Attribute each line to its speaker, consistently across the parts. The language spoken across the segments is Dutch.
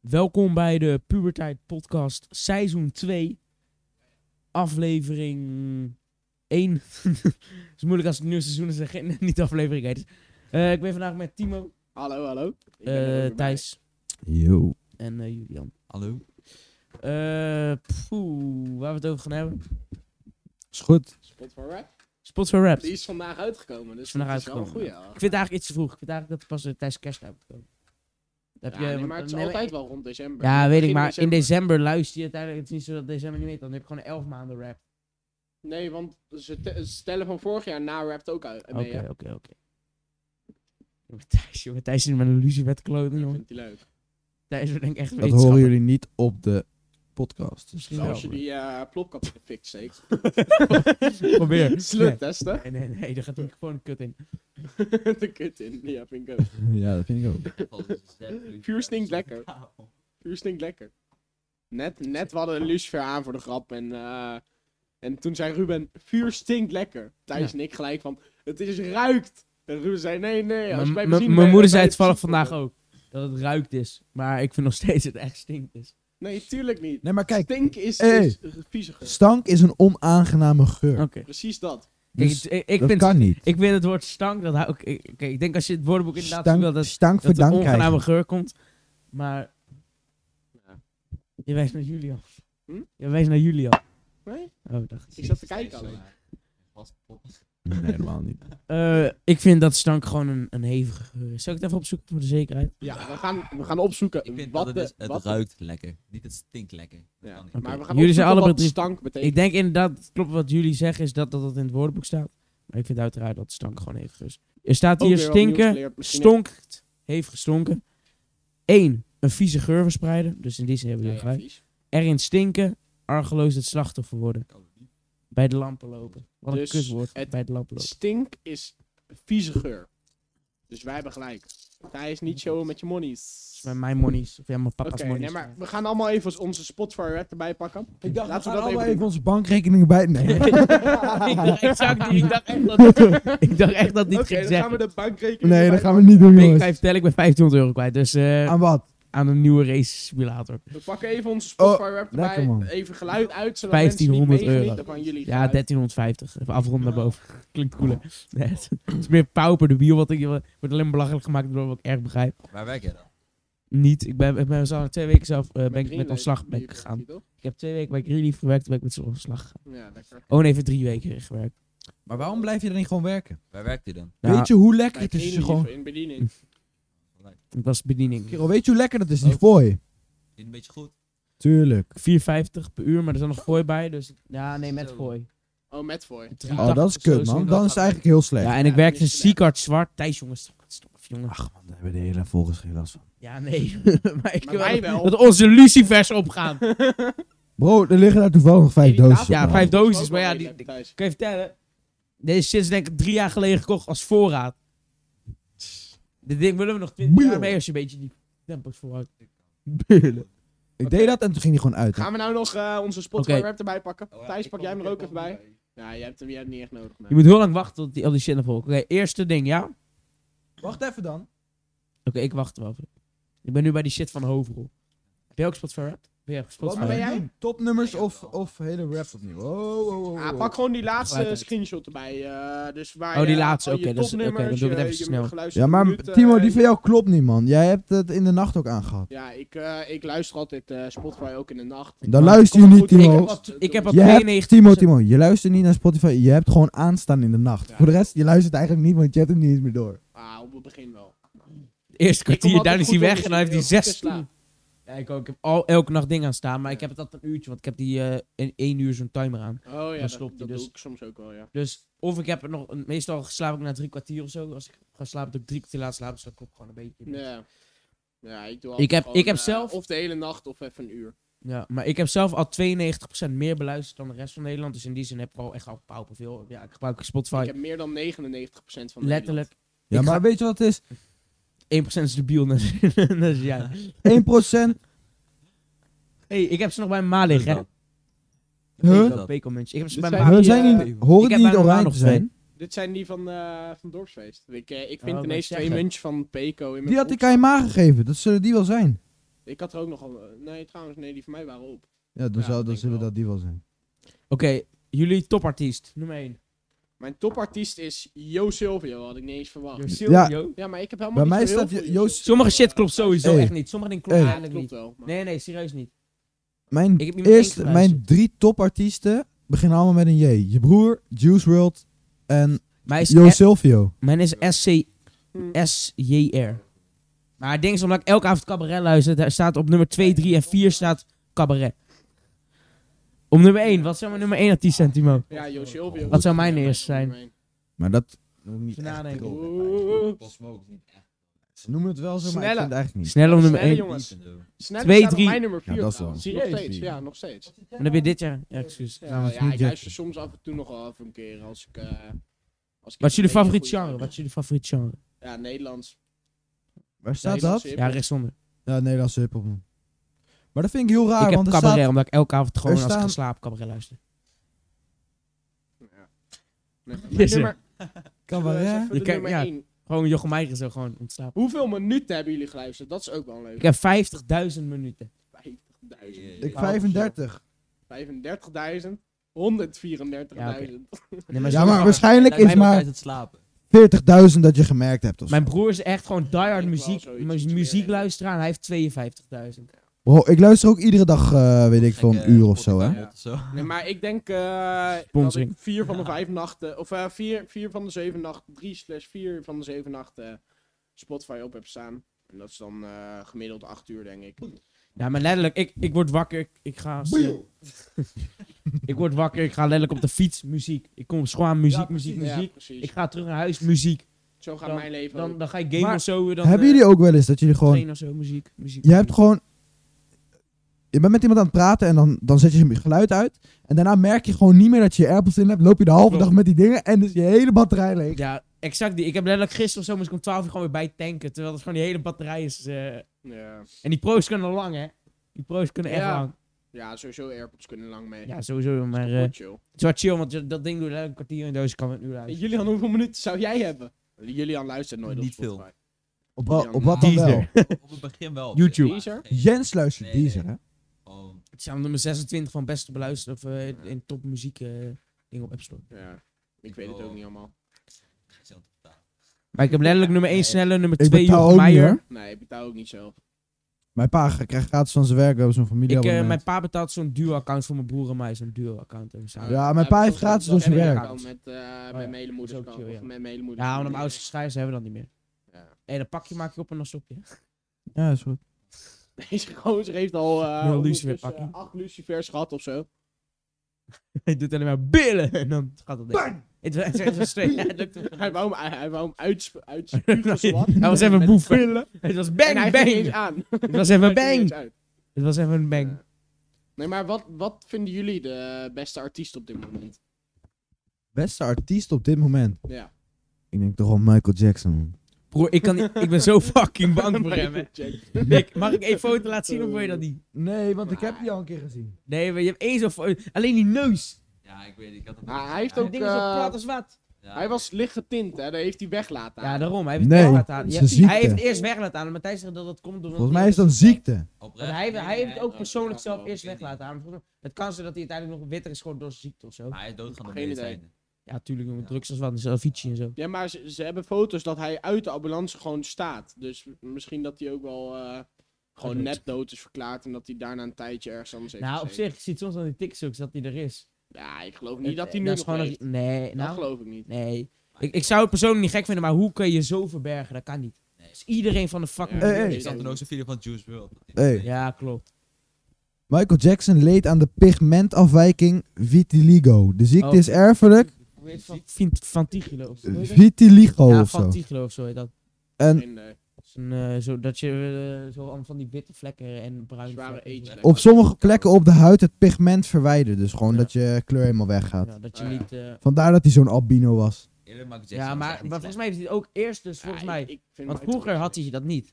Speaker 1: Welkom bij de Puberteit Podcast, seizoen 2, aflevering 1. Het is moeilijk als het nieuw seizoen is en niet aflevering 1 is. Eh, ik ben vandaag met Timo,
Speaker 2: Hallo, hallo. Ik ben er
Speaker 1: eh,
Speaker 2: ook bij.
Speaker 1: Thijs
Speaker 3: Yo.
Speaker 1: en eh, Julian.
Speaker 3: Hallo.
Speaker 1: Eh, poeh, waar we het over gaan hebben.
Speaker 3: Is goed.
Speaker 2: Spot for rap.
Speaker 1: Spots for Raps.
Speaker 2: Die
Speaker 1: Ik
Speaker 2: is vandaag uitgekomen, dus
Speaker 1: Is vandaag
Speaker 2: dat is wel een goeie.
Speaker 1: uitgekomen,
Speaker 2: Ja.
Speaker 1: vind het eigenlijk iets te vroeg. Ik vind eigenlijk dat we pas eh, tijdens kerst hebben gekomen. Heb
Speaker 2: Ja, nee,
Speaker 1: want-
Speaker 2: maar het is
Speaker 1: nee,
Speaker 2: altijd wel rond december.
Speaker 1: Ja, weet ik,
Speaker 2: Begin
Speaker 1: maar in
Speaker 2: december.
Speaker 1: december luister je uiteindelijk. Het is niet zo dat december niet weet, dan heb je gewoon 11 maanden rap.
Speaker 2: Nee, want ze te- ze stellen van vorig jaar na rapt ook uit. Oké.
Speaker 1: Oké, oké, oké. Jongen, Thijs, jongen, Thijs zit met een lucie met kloten,
Speaker 2: Dat
Speaker 1: jongen.
Speaker 2: vindt hij leuk.
Speaker 1: Thijs wordt denk ik echt
Speaker 3: Dat horen
Speaker 1: wetenschapper.
Speaker 3: jullie niet op de podcast.
Speaker 1: Misschien
Speaker 2: Als je
Speaker 1: wel.
Speaker 2: die eh plopkap in de fik steekt.
Speaker 1: Probeer.
Speaker 2: Slut testen.
Speaker 1: Nee, nee, nee, daar gaat de microfoon een kut in.
Speaker 2: de kut in. Ja, vind ik ook.
Speaker 3: ja, dat vind ik ook.
Speaker 2: Vuur stinkt lekker. Vuur stinkt lekker. Net, net we hadden een lucifer aan voor de grap en, eh, en toen zei Ruben, vuur stinkt lekker. Thijs en ik gelijk van, het is ruikt. En Ruben zei, nee, nee. Als je bij
Speaker 1: Mijn
Speaker 2: me ziet,
Speaker 1: mijn-
Speaker 2: ben
Speaker 1: mijn
Speaker 2: je-
Speaker 1: moeder
Speaker 2: ben
Speaker 1: zei
Speaker 2: je
Speaker 1: toevallig
Speaker 2: precies
Speaker 1: vandaag ook dat het ruikt is. Maar ik vind nog steeds dat het echt stinkt is.
Speaker 2: Nee, tuurlijk niet.
Speaker 3: Nee, maar kijk.
Speaker 2: Stink is,
Speaker 3: Hey.
Speaker 2: is vieziger.
Speaker 3: Stank is een onaangename geur.
Speaker 1: Oké.
Speaker 2: Precies dat.
Speaker 1: Kijk,
Speaker 3: Dus
Speaker 1: het- ik, ik,
Speaker 3: dat
Speaker 1: vind,
Speaker 3: kan niet.
Speaker 1: ik vind het woord stank, dat hou ik... ik- oké, ik denk als je het woordenboek inderdaad wil,
Speaker 3: Stank,
Speaker 1: dat
Speaker 3: stank
Speaker 1: dat er
Speaker 3: verdank
Speaker 1: ongename
Speaker 3: krijgen.
Speaker 1: geur komt. Maar...
Speaker 2: Ja.
Speaker 1: Je wijst naar Julian.
Speaker 2: Hm?
Speaker 1: Je wijst naar Julian.
Speaker 2: Nee?
Speaker 1: Oh, ik dacht...
Speaker 2: Ik zat te kijken alleen.
Speaker 3: Nee, helemaal niet.
Speaker 1: Eh, ik vind dat stank gewoon een, een hevige geur is. Zal ik het even opzoeken voor de zekerheid?
Speaker 2: Ja, we gaan, we gaan opzoeken
Speaker 4: Ik vind
Speaker 2: wat
Speaker 4: dat het,
Speaker 2: de...
Speaker 4: is, het
Speaker 2: wat de-
Speaker 4: ruikt lekker. Niet het stinkt lekker. Dat
Speaker 2: Ja,
Speaker 4: kan niet.
Speaker 2: Maar we gaan
Speaker 1: Jullie zijn
Speaker 2: opzoeken
Speaker 1: allebei
Speaker 2: wat
Speaker 1: drie-
Speaker 2: stank betekent.
Speaker 1: Ik denk inderdaad, het klopt wat jullie zeggen, is dat dat, dat in het woordenboek staat. Maar ik vind uiteraard dat stank gewoon hevig is. Er staat
Speaker 2: Ook
Speaker 1: hier
Speaker 2: weer wat nieuws
Speaker 1: stinken,
Speaker 2: geleerd. Misschien-
Speaker 1: stonkt, heeft gestonken. 1. Een vieze geur verspreiden. Dus in die zin hebben
Speaker 2: Ja,
Speaker 1: jullie
Speaker 2: ja,
Speaker 1: gelijk.
Speaker 2: vies.
Speaker 1: Erin stinken, argeloos het slachtoffer worden.
Speaker 4: Kan het niet.
Speaker 1: Bij de lampen lopen. Wat een
Speaker 2: Dus
Speaker 1: kutwoord,
Speaker 2: het-
Speaker 1: bij de lampen lopen.
Speaker 2: Stink is viezigeur. Dus wij hebben gelijk. Hij is niet showen met je monies.
Speaker 1: Bij mijn monies, of ja, mijn papa's
Speaker 2: Oké,
Speaker 1: monies.
Speaker 2: nee, maar we gaan allemaal even onze spot voor Red erbij pakken.
Speaker 3: Ik
Speaker 2: Laten
Speaker 3: dacht, laten
Speaker 2: we
Speaker 3: we
Speaker 2: dat
Speaker 3: allemaal
Speaker 2: even
Speaker 3: even, onze bankrekening bij... Nee.
Speaker 1: ik, dacht exact niet, ik dacht echt dat ik dacht echt dat dit
Speaker 2: Oké,
Speaker 1: ging
Speaker 2: dan
Speaker 1: zeggen.
Speaker 2: gaan we de bankrekening
Speaker 3: nee,
Speaker 2: erbij
Speaker 3: dat gaan we niet doen,
Speaker 1: Ik kan je
Speaker 3: jongens.
Speaker 1: vertellen, ik ben 1500 euro kwijt. Dus eh,
Speaker 3: Aan wat?
Speaker 1: aan een nieuwe race simulator.
Speaker 2: pakken. We pakken even onze spot
Speaker 3: Oh,
Speaker 2: voor Red
Speaker 3: lekker,
Speaker 2: erbij.
Speaker 3: man.
Speaker 2: Even geluid uit, zodat
Speaker 1: 1500
Speaker 2: mensen niet
Speaker 1: euro.
Speaker 2: meegenieten van jullie
Speaker 1: Ja, eh,
Speaker 2: geluid.
Speaker 1: 1350. Even afronden naar boven. Klinkt cooler. Nee, het is meer pauper de bier. Wat ik wordt alleen maar belachelijk gemaakt door wat ik erg begrijp.
Speaker 4: Waar werk jij dan?
Speaker 1: Niet. Ik ben, ik ben zelf twee weken zelf eh, ben ik met
Speaker 2: Greenleaf
Speaker 1: ontslag ben ik
Speaker 2: die-
Speaker 1: gegaan.
Speaker 2: die toch?
Speaker 1: Ik heb twee weken bij Greenleaf gewerkt. Toen ben ik met z'n ontslag gegaan.
Speaker 2: Ja, lekker.
Speaker 1: Oh nee, even drie weken gewerkt.
Speaker 3: Maar waarom blijf je er niet gewoon werken?
Speaker 4: Waar werkt u dan?
Speaker 1: Ja,
Speaker 3: Weet je hoe lekker
Speaker 2: Bij
Speaker 3: het is? als je
Speaker 2: Greenleaf
Speaker 3: gewoon...
Speaker 2: in bediening.
Speaker 1: Ik was bediening.
Speaker 3: Kerel, weet je hoe lekker dat is? Die fooi.
Speaker 4: Is het een beetje goed?
Speaker 3: Tuurlijk.
Speaker 1: 4,50 per uur, maar er zat nog gooi bij. Dus ja, nee, met
Speaker 4: Zo.
Speaker 1: gooi.
Speaker 2: Oh, met voor.
Speaker 3: Oh, dat is kut, man. Dan is het eigenlijk heel slecht.
Speaker 1: Ja, en ik
Speaker 2: Ja,
Speaker 1: werkte
Speaker 2: niet slecht.
Speaker 1: Seacard zwart. Thijs, jongens, stok het stof, jongen.
Speaker 3: Ach man, daar hebben de hele volgers geen last van.
Speaker 1: Ja, nee. maar ik
Speaker 2: Maar wij wel.
Speaker 1: dat onze lucifers opgaan. Kan
Speaker 3: Bro, er liggen daar toevallig nog vijf
Speaker 2: Hey, die
Speaker 3: dozen.
Speaker 2: tafel-
Speaker 1: Ja,
Speaker 3: man.
Speaker 1: vijf
Speaker 2: Dat is
Speaker 1: doosjes,
Speaker 2: ook
Speaker 1: maar
Speaker 2: wel
Speaker 1: ja,
Speaker 2: leuk,
Speaker 1: die-
Speaker 2: Thijs.
Speaker 1: ik je vertellen? Deze shit is denk ik drie jaar geleden gekocht als voorraad. Dit ding willen we nog twintig jaar mee als je een beetje die tempos vooruit.
Speaker 3: Ik deed dat en toen ging die gewoon uit. hè.
Speaker 2: Gaan we nou nog eh, onze Spotify
Speaker 1: Oké.
Speaker 2: rap erbij pakken?
Speaker 4: Oh ja,
Speaker 2: Thijs,
Speaker 4: ik
Speaker 2: pak
Speaker 4: kom
Speaker 2: jij hem er
Speaker 4: ik
Speaker 2: ook
Speaker 4: kom
Speaker 2: even bij? Ja, jij hebt hem, jij hebt hem niet echt nodig. nee.
Speaker 1: Je moet heel lang wachten tot die, al die shit naar voren komt. Oké, eerste ding, ja? Oké,
Speaker 3: Wacht even dan.
Speaker 1: ik wacht wel. even. Ik ben nu bij die shit van Hoverol. Heb jij ook spot voor rap? Ben jij ook spot
Speaker 3: Wat
Speaker 1: voor
Speaker 2: ben
Speaker 3: ben
Speaker 1: rap?
Speaker 2: jij?
Speaker 3: jij? Topnummers of, of hele rap opnieuw? Oh, oh, oh, oh,
Speaker 2: Ah,
Speaker 3: oh.
Speaker 2: pak gewoon die laatste
Speaker 1: Geluid uit.
Speaker 2: screenshot erbij. eh, dus waar
Speaker 1: Oh, die
Speaker 2: je
Speaker 1: laatste,
Speaker 2: al je
Speaker 1: oké, dus- oké, dan
Speaker 2: topnummers,
Speaker 1: doen we het
Speaker 2: je-
Speaker 1: even
Speaker 2: je
Speaker 1: snel.
Speaker 2: geluisterde
Speaker 3: Ja, maar
Speaker 2: minuten,
Speaker 3: Timo, die
Speaker 2: eh,
Speaker 3: van jou klopt niet, man. Jij hebt het in de nacht ook aangehad.
Speaker 2: Ja, ik, eh, ik luister altijd eh, Spotify ook in de nacht.
Speaker 3: Dan
Speaker 1: man,
Speaker 3: luister je
Speaker 2: Komt
Speaker 3: niet,
Speaker 2: goed, ik
Speaker 3: Timo.
Speaker 2: heb wat-
Speaker 1: Ik heb al
Speaker 3: Je hebt,
Speaker 1: 92
Speaker 3: Timo, Timo, je luistert niet naar Spotify. Je hebt gewoon aanstaan in de nacht.
Speaker 2: Ja.
Speaker 3: Voor de rest, je luistert eigenlijk niet, want je hebt hem niet eens meer door.
Speaker 2: Ah, op het begin wel.
Speaker 1: Eerste
Speaker 2: Ik kom
Speaker 1: kwartier,
Speaker 2: altijd
Speaker 1: daar is hij
Speaker 2: goed
Speaker 1: weg
Speaker 2: om,
Speaker 1: en dan heeft hij
Speaker 2: dus ik heb
Speaker 1: zes.
Speaker 2: goed geslapen.
Speaker 1: Ja, ik ook. Ik heb al, elke nacht ding aan staan, maar ik
Speaker 2: Ja.
Speaker 1: heb het altijd een uurtje, want ik heb die eh, in één uur zo'n timer aan.
Speaker 2: Oh ja, dat,
Speaker 1: stopt hij
Speaker 2: dat
Speaker 1: dus.
Speaker 2: doe ik soms ook wel, ja.
Speaker 1: Dus of ik heb er nog, een- meestal slaap ik na drie kwartier of zo. Als ik ga slapen, doe ik drie kwartier laat slapen, dus dat klopt gewoon een beetje.
Speaker 2: Ja, ja ik doe
Speaker 1: Ik heb-
Speaker 2: altijd
Speaker 1: ik heb
Speaker 2: eh,
Speaker 1: zelf-
Speaker 2: Of de hele nacht of even een uur.
Speaker 1: Ja, maar ik heb zelf al 92% meer beluisterd dan de rest van Nederland. Dus in die zin heb ik al echt al pauper veel. Ja, ik gebruik Spotify.
Speaker 2: Ik heb meer dan 99% van Nederland.
Speaker 1: Letterlijk.
Speaker 3: Ja,
Speaker 1: Ik
Speaker 3: maar weet je wat het is?
Speaker 1: 1% is debiel, dus, net als- net als jij.
Speaker 3: 1%.
Speaker 1: hey, ik heb ze nog bij ma liggen, hè?
Speaker 3: Huh?
Speaker 1: Dat pekelmuntje. Ik heb ze
Speaker 2: Dit
Speaker 1: bij ma
Speaker 2: zijn-
Speaker 3: Huh,
Speaker 2: die,
Speaker 3: zijn
Speaker 2: eh,
Speaker 3: die,
Speaker 1: ik heb
Speaker 3: horen die niet
Speaker 1: bijna
Speaker 3: oranje
Speaker 1: nog
Speaker 3: te zijn?
Speaker 2: Dit zijn die van, eh, van Dorpsfeest. Ik, eh, ik vind
Speaker 1: wat
Speaker 2: ineens
Speaker 1: zeg
Speaker 2: twee
Speaker 1: je?
Speaker 2: muntjes van Peco in mijn
Speaker 3: Oh, Die had ik
Speaker 2: broek.
Speaker 3: aan je ma gegeven. Dat zullen die wel zijn.
Speaker 2: Ik had er ook nogal... Nee, trouwens, nee, die van mij waren op.
Speaker 3: Ja,
Speaker 2: Ja,
Speaker 3: dan, zou, dan
Speaker 2: denk
Speaker 3: zullen
Speaker 2: wel.
Speaker 3: dat die wel zijn.
Speaker 1: Oké, jullie topartiest. Noem één.
Speaker 2: Oh. Mijn topartiest is Jo Silvio, had ik niet eens verwacht.
Speaker 1: Yosil,
Speaker 3: Ja.
Speaker 1: yo.
Speaker 2: Ja, maar ik heb helemaal
Speaker 3: Bij
Speaker 2: niet
Speaker 3: mij
Speaker 2: zo heel
Speaker 3: staat
Speaker 2: veel
Speaker 3: Jo-
Speaker 2: Jo
Speaker 3: Jo-
Speaker 2: Silvio.
Speaker 1: Sommige shit klopt sowieso
Speaker 3: Hey.
Speaker 1: echt niet. Sommige dingen kloppen
Speaker 3: Hey.
Speaker 2: Ja, dat
Speaker 1: eigenlijk
Speaker 2: klopt
Speaker 1: niet.
Speaker 2: wel. maar-
Speaker 1: Nee, nee, serieus niet.
Speaker 3: Mijn,
Speaker 1: Ik heb niet meteen
Speaker 3: eerste,
Speaker 1: geluisterd.
Speaker 3: mijn drie topartiesten beginnen allemaal met een J. Je broer, Juice WRLD en
Speaker 1: Mijn is,
Speaker 3: Jo
Speaker 1: eh,
Speaker 3: Silvio.
Speaker 1: mijn is SC,
Speaker 2: Hm.
Speaker 1: SJR. Maar het ding is, omdat ik elke avond cabaret luister, daar staat op nummer 2, 3 en 4 staat cabaret. Op nummer 1, wat zou mijn nummer 1 artiest zijn, Timo?
Speaker 2: Ja, Jo Silvio.
Speaker 1: Wat zou mijn eerste zijn?
Speaker 3: Maar dat...
Speaker 1: Even nadenken.
Speaker 2: Oeh.
Speaker 4: Pas ook niet echt.
Speaker 3: Ze noemen het wel zo, maar ik
Speaker 2: Sneller.
Speaker 3: vind het eigenlijk niet.
Speaker 1: Snel op nummer
Speaker 2: Snelle
Speaker 1: 1.
Speaker 2: jongens.
Speaker 4: Diep en zo.
Speaker 2: Snelle
Speaker 1: Twee,
Speaker 2: staat op
Speaker 1: drie.
Speaker 2: mijn nummer
Speaker 3: Ja,
Speaker 2: 4
Speaker 3: dat is
Speaker 2: trouwens.
Speaker 3: wel.
Speaker 2: Nog
Speaker 1: Serieus?
Speaker 2: steeds, ja, nog steeds.
Speaker 1: Maar dan ben je dit jaar. Ja, excuus.
Speaker 2: Ja, maar
Speaker 3: is
Speaker 2: ja,
Speaker 3: niet
Speaker 2: ik
Speaker 3: Jack.
Speaker 2: luister soms af en toe nog wel even een keer als ik... eh, als ik
Speaker 1: Wat is jullie
Speaker 2: een beetje
Speaker 1: favoriet
Speaker 2: goede-
Speaker 1: genre? Wat is jullie favoriet genre?
Speaker 2: Ja, Nederlands.
Speaker 3: Waar staat
Speaker 2: Nederlands
Speaker 3: dat?
Speaker 2: hip.
Speaker 1: Ja, rechtsonder.
Speaker 3: Ja, Nederlandse hiphop. man. Maar dat vind ik heel raar,
Speaker 1: Ik heb
Speaker 3: want er
Speaker 1: cabaret,
Speaker 3: staat...
Speaker 1: omdat ik elke avond gewoon
Speaker 3: er
Speaker 1: als ik ga
Speaker 3: staan-
Speaker 1: slapen cabaret luister.
Speaker 2: Nee,
Speaker 1: Yes, sir.
Speaker 2: nummer-
Speaker 3: Cabaret?
Speaker 2: even de
Speaker 1: Je kijkt-
Speaker 2: nummer
Speaker 1: ja.
Speaker 2: één.
Speaker 1: Gewoon Jochem Meijer zo gewoon om te slapen.
Speaker 2: Hoeveel minuten hebben jullie geluisterd? Dat is ook wel leuk.
Speaker 1: Ik heb 50.000 minuten.
Speaker 2: 50.000.
Speaker 4: Ik
Speaker 3: Ik
Speaker 2: Ja,
Speaker 3: 35.
Speaker 2: 35.000. 134.000.
Speaker 1: Ja, oké. Nee,
Speaker 3: Ja,
Speaker 1: zo-
Speaker 3: maar waarschijnlijk
Speaker 4: Lijkt
Speaker 3: is
Speaker 4: mij maar
Speaker 3: maar
Speaker 4: uit het slapen.
Speaker 3: 40.000 dat je gemerkt hebt of zo.
Speaker 1: Mijn broer is echt gewoon diehard
Speaker 2: Ik wou
Speaker 1: muziek,
Speaker 2: zoiets
Speaker 1: mu-
Speaker 2: iets meer
Speaker 1: muziekluisteraar en hij heeft 52.000.
Speaker 3: Bro, ik luister ook iedere dag, eh, weet ik veel,
Speaker 4: Gekke
Speaker 3: een uur of zo, hè.
Speaker 4: Spotify-bot of zo.
Speaker 2: Nee, maar ik denk eh dat ik
Speaker 1: Sponsoring.
Speaker 2: vier van de vijf nachten, of eh vier, vier van de zeven nachten, drie slash vier van de zeven nachten eh, Spotify op heb staan. En dat is dan eh, gemiddeld acht uur, denk ik.
Speaker 1: Ja, maar letterlijk, ik, ik word wakker, ik, ik ga... ik word wakker, ik ga letterlijk op de fiets, muziek. Ik kom op school aan, muziek,
Speaker 4: Ja,
Speaker 1: muziek,
Speaker 4: precies.
Speaker 2: Ja,
Speaker 1: muziek.
Speaker 2: precies.
Speaker 1: ik ga terug naar huis, muziek.
Speaker 2: Zo gaat
Speaker 1: dan-
Speaker 2: mijn leven
Speaker 1: Dan,
Speaker 2: ook.
Speaker 1: dan ga ik gamen
Speaker 3: Maar
Speaker 1: of zo. Dan,
Speaker 3: Hebben
Speaker 1: eh,
Speaker 3: jullie ook wel eens dat jullie gewoon...
Speaker 1: trainen of zo, muziek, muziek.
Speaker 3: Je hebt gewoon... Je bent met iemand aan het praten en dan, dan zet je zijn geluid uit. En daarna merk je gewoon niet meer dat je je AirPods in hebt. Loop je de halve
Speaker 1: Klopt.
Speaker 3: dag met die dingen en dus je hele batterij leeg.
Speaker 1: Ja, exact die. Ik heb letterlijk gisteren of zo moest ik om 12 uur gewoon weer bij tanken. Terwijl het gewoon die hele batterij is. eh,
Speaker 2: Ja.
Speaker 1: En die pro's kunnen lang, hè? Die pro's kunnen echt
Speaker 2: Ja.
Speaker 1: lang.
Speaker 2: ja, sowieso AirPods kunnen lang mee.
Speaker 1: Ja, sowieso. Maar eh,
Speaker 2: Goed,
Speaker 1: het
Speaker 2: chill.
Speaker 1: is wel chill, want je- dat ding doet letterlijk een kwartier in doos. kan het nu
Speaker 2: En
Speaker 1: uit.
Speaker 2: Julian, hoeveel minuten zou jij hebben? Julian luistert nooit
Speaker 4: Niet
Speaker 2: op Spotify.
Speaker 3: Op, wa- op wat dan wel?
Speaker 1: Deezer.
Speaker 4: Op het begin wel.
Speaker 1: YouTube.
Speaker 2: Deezer?
Speaker 4: Geen-
Speaker 3: Jens luistert
Speaker 4: Nee, nee.
Speaker 3: Deezer, hè?
Speaker 4: Oh,
Speaker 1: Het is aan nummer 26 van beste beluisterd of eh, in topmuziek eh ding op App Store.
Speaker 2: Ja, ik weet het ook niet allemaal.
Speaker 4: ik zal het betalen.
Speaker 1: Maar ik heb letterlijk nummer 1
Speaker 4: Nee.
Speaker 1: sneller, nummer
Speaker 3: Ik
Speaker 1: 2
Speaker 3: betaal
Speaker 1: Jochem
Speaker 3: ook niet,
Speaker 1: Meijer.
Speaker 3: hoor.
Speaker 2: Nee, ik betaal ook niet zelf.
Speaker 3: Mijn pa ge- krijgt gratis van zijn werk, we hebben zo'n familie
Speaker 1: Ik, eh, mijn pa betaalt zo'n duo-account voor mijn broer en mij. Zo'n duo-account hebben we samen. Ja,
Speaker 3: Ja, mijn pa heeft
Speaker 2: Dat
Speaker 3: gratis
Speaker 2: heb
Speaker 3: door zijn
Speaker 2: ik
Speaker 3: werk.
Speaker 2: ook al Met, eh
Speaker 1: Oh ja.
Speaker 2: met mijn hele moeder.
Speaker 1: Dat is ook chill,
Speaker 2: Of
Speaker 1: ja.
Speaker 2: met mijn hele moeder.
Speaker 1: want om ouders te scheiden ze hebben we dat niet meer.
Speaker 2: Ja.
Speaker 1: En dan pak je, maak je op en dan stop je.
Speaker 3: Ja, is goed.
Speaker 2: Deze gozer heeft al eh
Speaker 1: Nu al
Speaker 2: ondertussen,
Speaker 1: lucifer pakken.
Speaker 2: eh, acht lucifers gehad of zo.
Speaker 1: Hij doet alleen maar billen en dan gaat het dicht. Het was echt een streep. Het lukte hem
Speaker 2: Hij
Speaker 1: niet.
Speaker 2: wou hem, hij wou hem uits, uitspugen, zwart.
Speaker 1: Hij was even
Speaker 2: Met
Speaker 1: boef.
Speaker 2: pillen.
Speaker 1: Het was
Speaker 2: en hij
Speaker 1: bang,
Speaker 2: ging niet eens
Speaker 1: bang.
Speaker 2: aan. Hij
Speaker 1: Het was
Speaker 2: ging
Speaker 1: even
Speaker 2: niet eens
Speaker 1: bang.
Speaker 2: uit.
Speaker 1: Het was even een bang.
Speaker 2: Ja. Nee, maar wat, wat vinden jullie de beste artiest op dit moment?
Speaker 3: Beste artiest op dit moment.
Speaker 2: Ja.
Speaker 3: Ik denk toch wel Michael Jackson, man.
Speaker 1: Broer, ik, kan niet- ik ben zo fucking bang voor hem. hè.
Speaker 2: Michael Jackson.
Speaker 1: Nick, mag ik één foto laten zien of wil je dat niet?
Speaker 3: Nee, want ik heb die al een keer gezien.
Speaker 1: Nee, maar je hebt één zo'n foto. Alleen die neus.
Speaker 4: Ja, ik weet niet. Ik had het
Speaker 2: Maar hij heeft
Speaker 1: Dat
Speaker 2: ook,
Speaker 1: ding is zo
Speaker 2: eh,
Speaker 1: plat als wat.
Speaker 4: Ja,
Speaker 2: Hij was licht getint, hè. Daar heeft hij weg
Speaker 1: Ja,
Speaker 2: laten halen.
Speaker 1: daarom. Hij heeft
Speaker 3: Nee,
Speaker 1: het weg laten halen.
Speaker 3: het
Speaker 1: Ja,
Speaker 3: is een ziekte.
Speaker 1: Hij heeft eerst weg laten halen. Matthijs zegt dat dat komt door...
Speaker 3: Volgens mij is dat een ziekte.
Speaker 1: Want
Speaker 4: oprecht.
Speaker 1: hij, hij heeft het ook
Speaker 2: nee,
Speaker 1: persoonlijk
Speaker 2: dat
Speaker 1: zelf
Speaker 4: wel.
Speaker 1: eerst
Speaker 4: Ik
Speaker 1: weg
Speaker 4: weet
Speaker 1: laten halen. Volgens mij- Het kan zijn dat hij uiteindelijk nog witter is geworden door zijn ziekte of zo.
Speaker 4: Maar hij is doodgaan op
Speaker 2: Geen
Speaker 4: deze
Speaker 2: idee.
Speaker 4: einde.
Speaker 1: Ja, tuurlijk. jongen,
Speaker 4: Ja.
Speaker 1: Drugs als wat. En Salvici en zo.
Speaker 2: Ja, maar ze, ze hebben foto's dat hij uit de ambulance gewoon staat. Dus misschien dat hij ook wel eh, gewoon
Speaker 1: Dood.
Speaker 2: net dood is verklaard. En dat hij daarna een tijdje ergens anders heeft
Speaker 1: Nou, op
Speaker 2: gezeten.
Speaker 1: zich, je ziet soms aan die TikToks dat hij er is.
Speaker 2: Ja, ik geloof niet
Speaker 1: Het-
Speaker 2: dat hij nu
Speaker 1: dat
Speaker 2: nog
Speaker 1: is gewoon een-
Speaker 2: leeft.
Speaker 1: Nee,
Speaker 2: Dat
Speaker 1: nou,
Speaker 2: geloof ik niet.
Speaker 1: nee. Ik, ik zou het persoonlijk niet gek vinden, maar hoe kun je zo verbergen? Dat kan niet.
Speaker 4: Nee.
Speaker 1: Dus iedereen van de fucking...
Speaker 2: Ja,
Speaker 3: Hey, hey.
Speaker 4: Ik zag toen ook zo'n video van Juice WRLD.
Speaker 3: Hey.
Speaker 1: Ja, klopt.
Speaker 3: Michael Jackson leed aan de pigmentafwijking vitiligo. De ziekte
Speaker 1: Oh.
Speaker 3: is erfelijk.
Speaker 1: Hoe heet Van, Vint- van Tigilo
Speaker 3: Eh,
Speaker 1: of zo.
Speaker 3: Vitiligo
Speaker 1: Ja,
Speaker 3: Oh, of
Speaker 1: van
Speaker 3: zo.
Speaker 1: Tigilo of zo heet dat.
Speaker 3: En
Speaker 2: Geen, eh,
Speaker 1: Dat is een, eh, zo, dat je eh, zo allemaal van die witte vlekken en bruine
Speaker 2: zware
Speaker 1: vlekken.
Speaker 2: aids.
Speaker 3: op sommige plekken op de huid het pigment verwijderen. Dus gewoon dat je kleur helemaal weggaat.
Speaker 1: Ja, dat je
Speaker 2: Ah, ja.
Speaker 1: niet... eh,
Speaker 3: Vandaar dat hij zo'n albino was.
Speaker 4: Eerder Michael Jackson
Speaker 1: ja,
Speaker 4: was
Speaker 1: maar, maar
Speaker 4: echt niet
Speaker 1: volgens
Speaker 4: slecht.
Speaker 1: mij heeft hij het ook eerst dus,
Speaker 2: Ja,
Speaker 1: volgens
Speaker 2: ik-
Speaker 1: mij...
Speaker 2: ik vind
Speaker 1: Want
Speaker 2: Michael
Speaker 1: vroeger had
Speaker 2: Jackson-
Speaker 1: hij dat niet.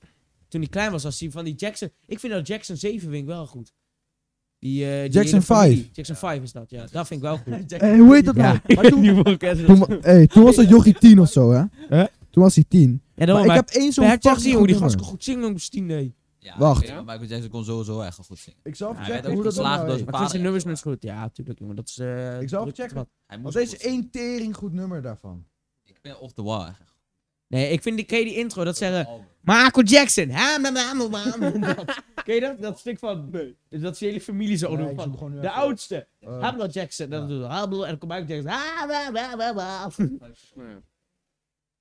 Speaker 1: Toen hij klein was, was hij van die Jackson... Ik vind dat Jackson 7 vind ik wel goed. Die, eh, die
Speaker 3: Jackson
Speaker 1: hele familie.
Speaker 3: 5.
Speaker 1: Jackson
Speaker 4: Ja.
Speaker 1: 5 is dat, ja. Dat vind ik wel goed.
Speaker 3: Hé, hoe heet dat nou?
Speaker 1: Ja, ik
Speaker 3: Maar
Speaker 1: weet
Speaker 3: toen,
Speaker 1: niet hoe ik het
Speaker 3: toen, wa- hey, toen was dat jochie 10 of zo, hè?
Speaker 1: Hè?
Speaker 3: Toen was hij 10.
Speaker 1: Ja,
Speaker 3: Maar
Speaker 1: daarom,
Speaker 3: ik
Speaker 1: maar
Speaker 3: heb één zo'n
Speaker 1: Bert Jackson,
Speaker 3: fucking
Speaker 1: jongen, die
Speaker 3: goed
Speaker 1: gast
Speaker 3: nummer.
Speaker 1: kan goed zingen, Stine.
Speaker 4: Ja,
Speaker 3: Wacht.
Speaker 4: ik weet het, maar Michael Jackson kon sowieso echt wel goed zingen.
Speaker 3: Ik zal even
Speaker 4: Ja, hij werd
Speaker 3: checken hoe
Speaker 4: ook
Speaker 3: dat
Speaker 4: geslagen
Speaker 3: nou
Speaker 4: door
Speaker 3: heet.
Speaker 4: zijn
Speaker 1: Maar vind
Speaker 4: vader.
Speaker 1: zijn nummers net zo goed? Ja, tuurlijk, jongen. Dat is... eh,
Speaker 3: Ik zal even
Speaker 1: dat-
Speaker 3: checken.
Speaker 4: Hij
Speaker 3: Want
Speaker 4: moest
Speaker 3: deze
Speaker 4: goed zingen.
Speaker 3: één tering goed nummer daarvan.
Speaker 4: Ik ben off the wall eigenlijk.
Speaker 1: Nee, ik vind die, ken je die intro, dat zeggen... Michael Jackson! Ha, ma, ma, ma, ma, ma. Dat. Ken je dat? Dat stuk van...
Speaker 2: Nee.
Speaker 1: Dat is die hele familie zo
Speaker 3: Nee,
Speaker 1: doen
Speaker 3: ik
Speaker 1: van
Speaker 3: zoek gewoon nu
Speaker 1: de
Speaker 3: even op.
Speaker 1: oudste.
Speaker 3: Eh,
Speaker 1: Hamlet Jackson. Dat
Speaker 3: ja.
Speaker 1: doen we. Hamlet en dan komt Michael Jackson. Ha, ma, ma, ma, ma.
Speaker 2: Nou ja.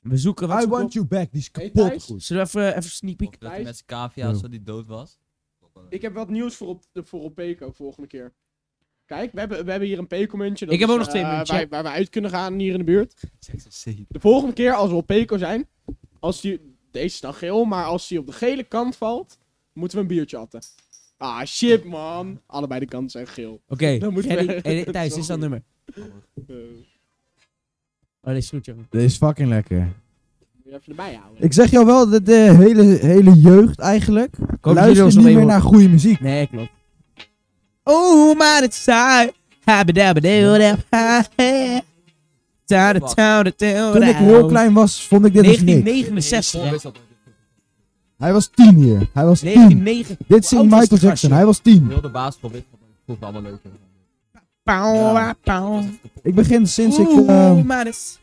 Speaker 1: We zoeken wat
Speaker 3: I
Speaker 1: ze
Speaker 3: want
Speaker 1: op-
Speaker 3: you back, die is
Speaker 2: Hey,
Speaker 3: kapot
Speaker 2: Thijs?
Speaker 3: goed.
Speaker 1: Zullen we even, even sneak
Speaker 4: Of
Speaker 1: peek?
Speaker 4: dat hij
Speaker 2: Thijs?
Speaker 4: met zijn cavia
Speaker 3: Ja.
Speaker 4: zo die dood was.
Speaker 2: Ik heb wat nieuws voor op, voor op Peco volgende keer. Kijk, we hebben, we hebben hier een Peco-muntje. dat
Speaker 1: Ik heb
Speaker 2: is,
Speaker 1: ook nog twee
Speaker 2: eh,
Speaker 1: muntjes,
Speaker 2: waar,
Speaker 1: ja.
Speaker 2: waar we uit kunnen gaan hier in de buurt.
Speaker 4: Jackson zeep.
Speaker 2: De volgende keer als we op Peco zijn, als die, deze is dan geel, maar als die op de gele kant valt, moeten we een biertje atten. Ah, shit man. Allebei de kanten zijn geel.
Speaker 1: Oké,
Speaker 2: Dan moeten we-
Speaker 1: edit- edit- Thijs, dit is dat
Speaker 2: Sorry.
Speaker 1: nummer.
Speaker 2: Eh,
Speaker 1: Oh, dit is goed, jongen.
Speaker 3: Dit is fucking lekker.
Speaker 2: moet je even erbij houden.
Speaker 3: Ik zeg jou wel, dat de hele, hele jeugd eigenlijk.
Speaker 1: dat jullie
Speaker 3: luistert
Speaker 1: ons
Speaker 3: niet
Speaker 1: nog
Speaker 3: meer
Speaker 1: even-
Speaker 3: naar goede muziek.
Speaker 1: Nee, klopt. Oh, maar het is saai. Toen
Speaker 3: Toen ik heel klein was, vond ik dit als niks.
Speaker 1: 1969, hè?
Speaker 3: Hij was tien hier. Hij was tien.
Speaker 1: 1909.
Speaker 3: Dit zingt Michael Jackson. Hij was tien.
Speaker 4: Heel de baas van dit vond allemaal leuk.
Speaker 1: Pauw,
Speaker 3: Ja.
Speaker 1: pauw.
Speaker 3: Ik begin sinds ik... ehm,
Speaker 1: ah, Oeh, maar het is...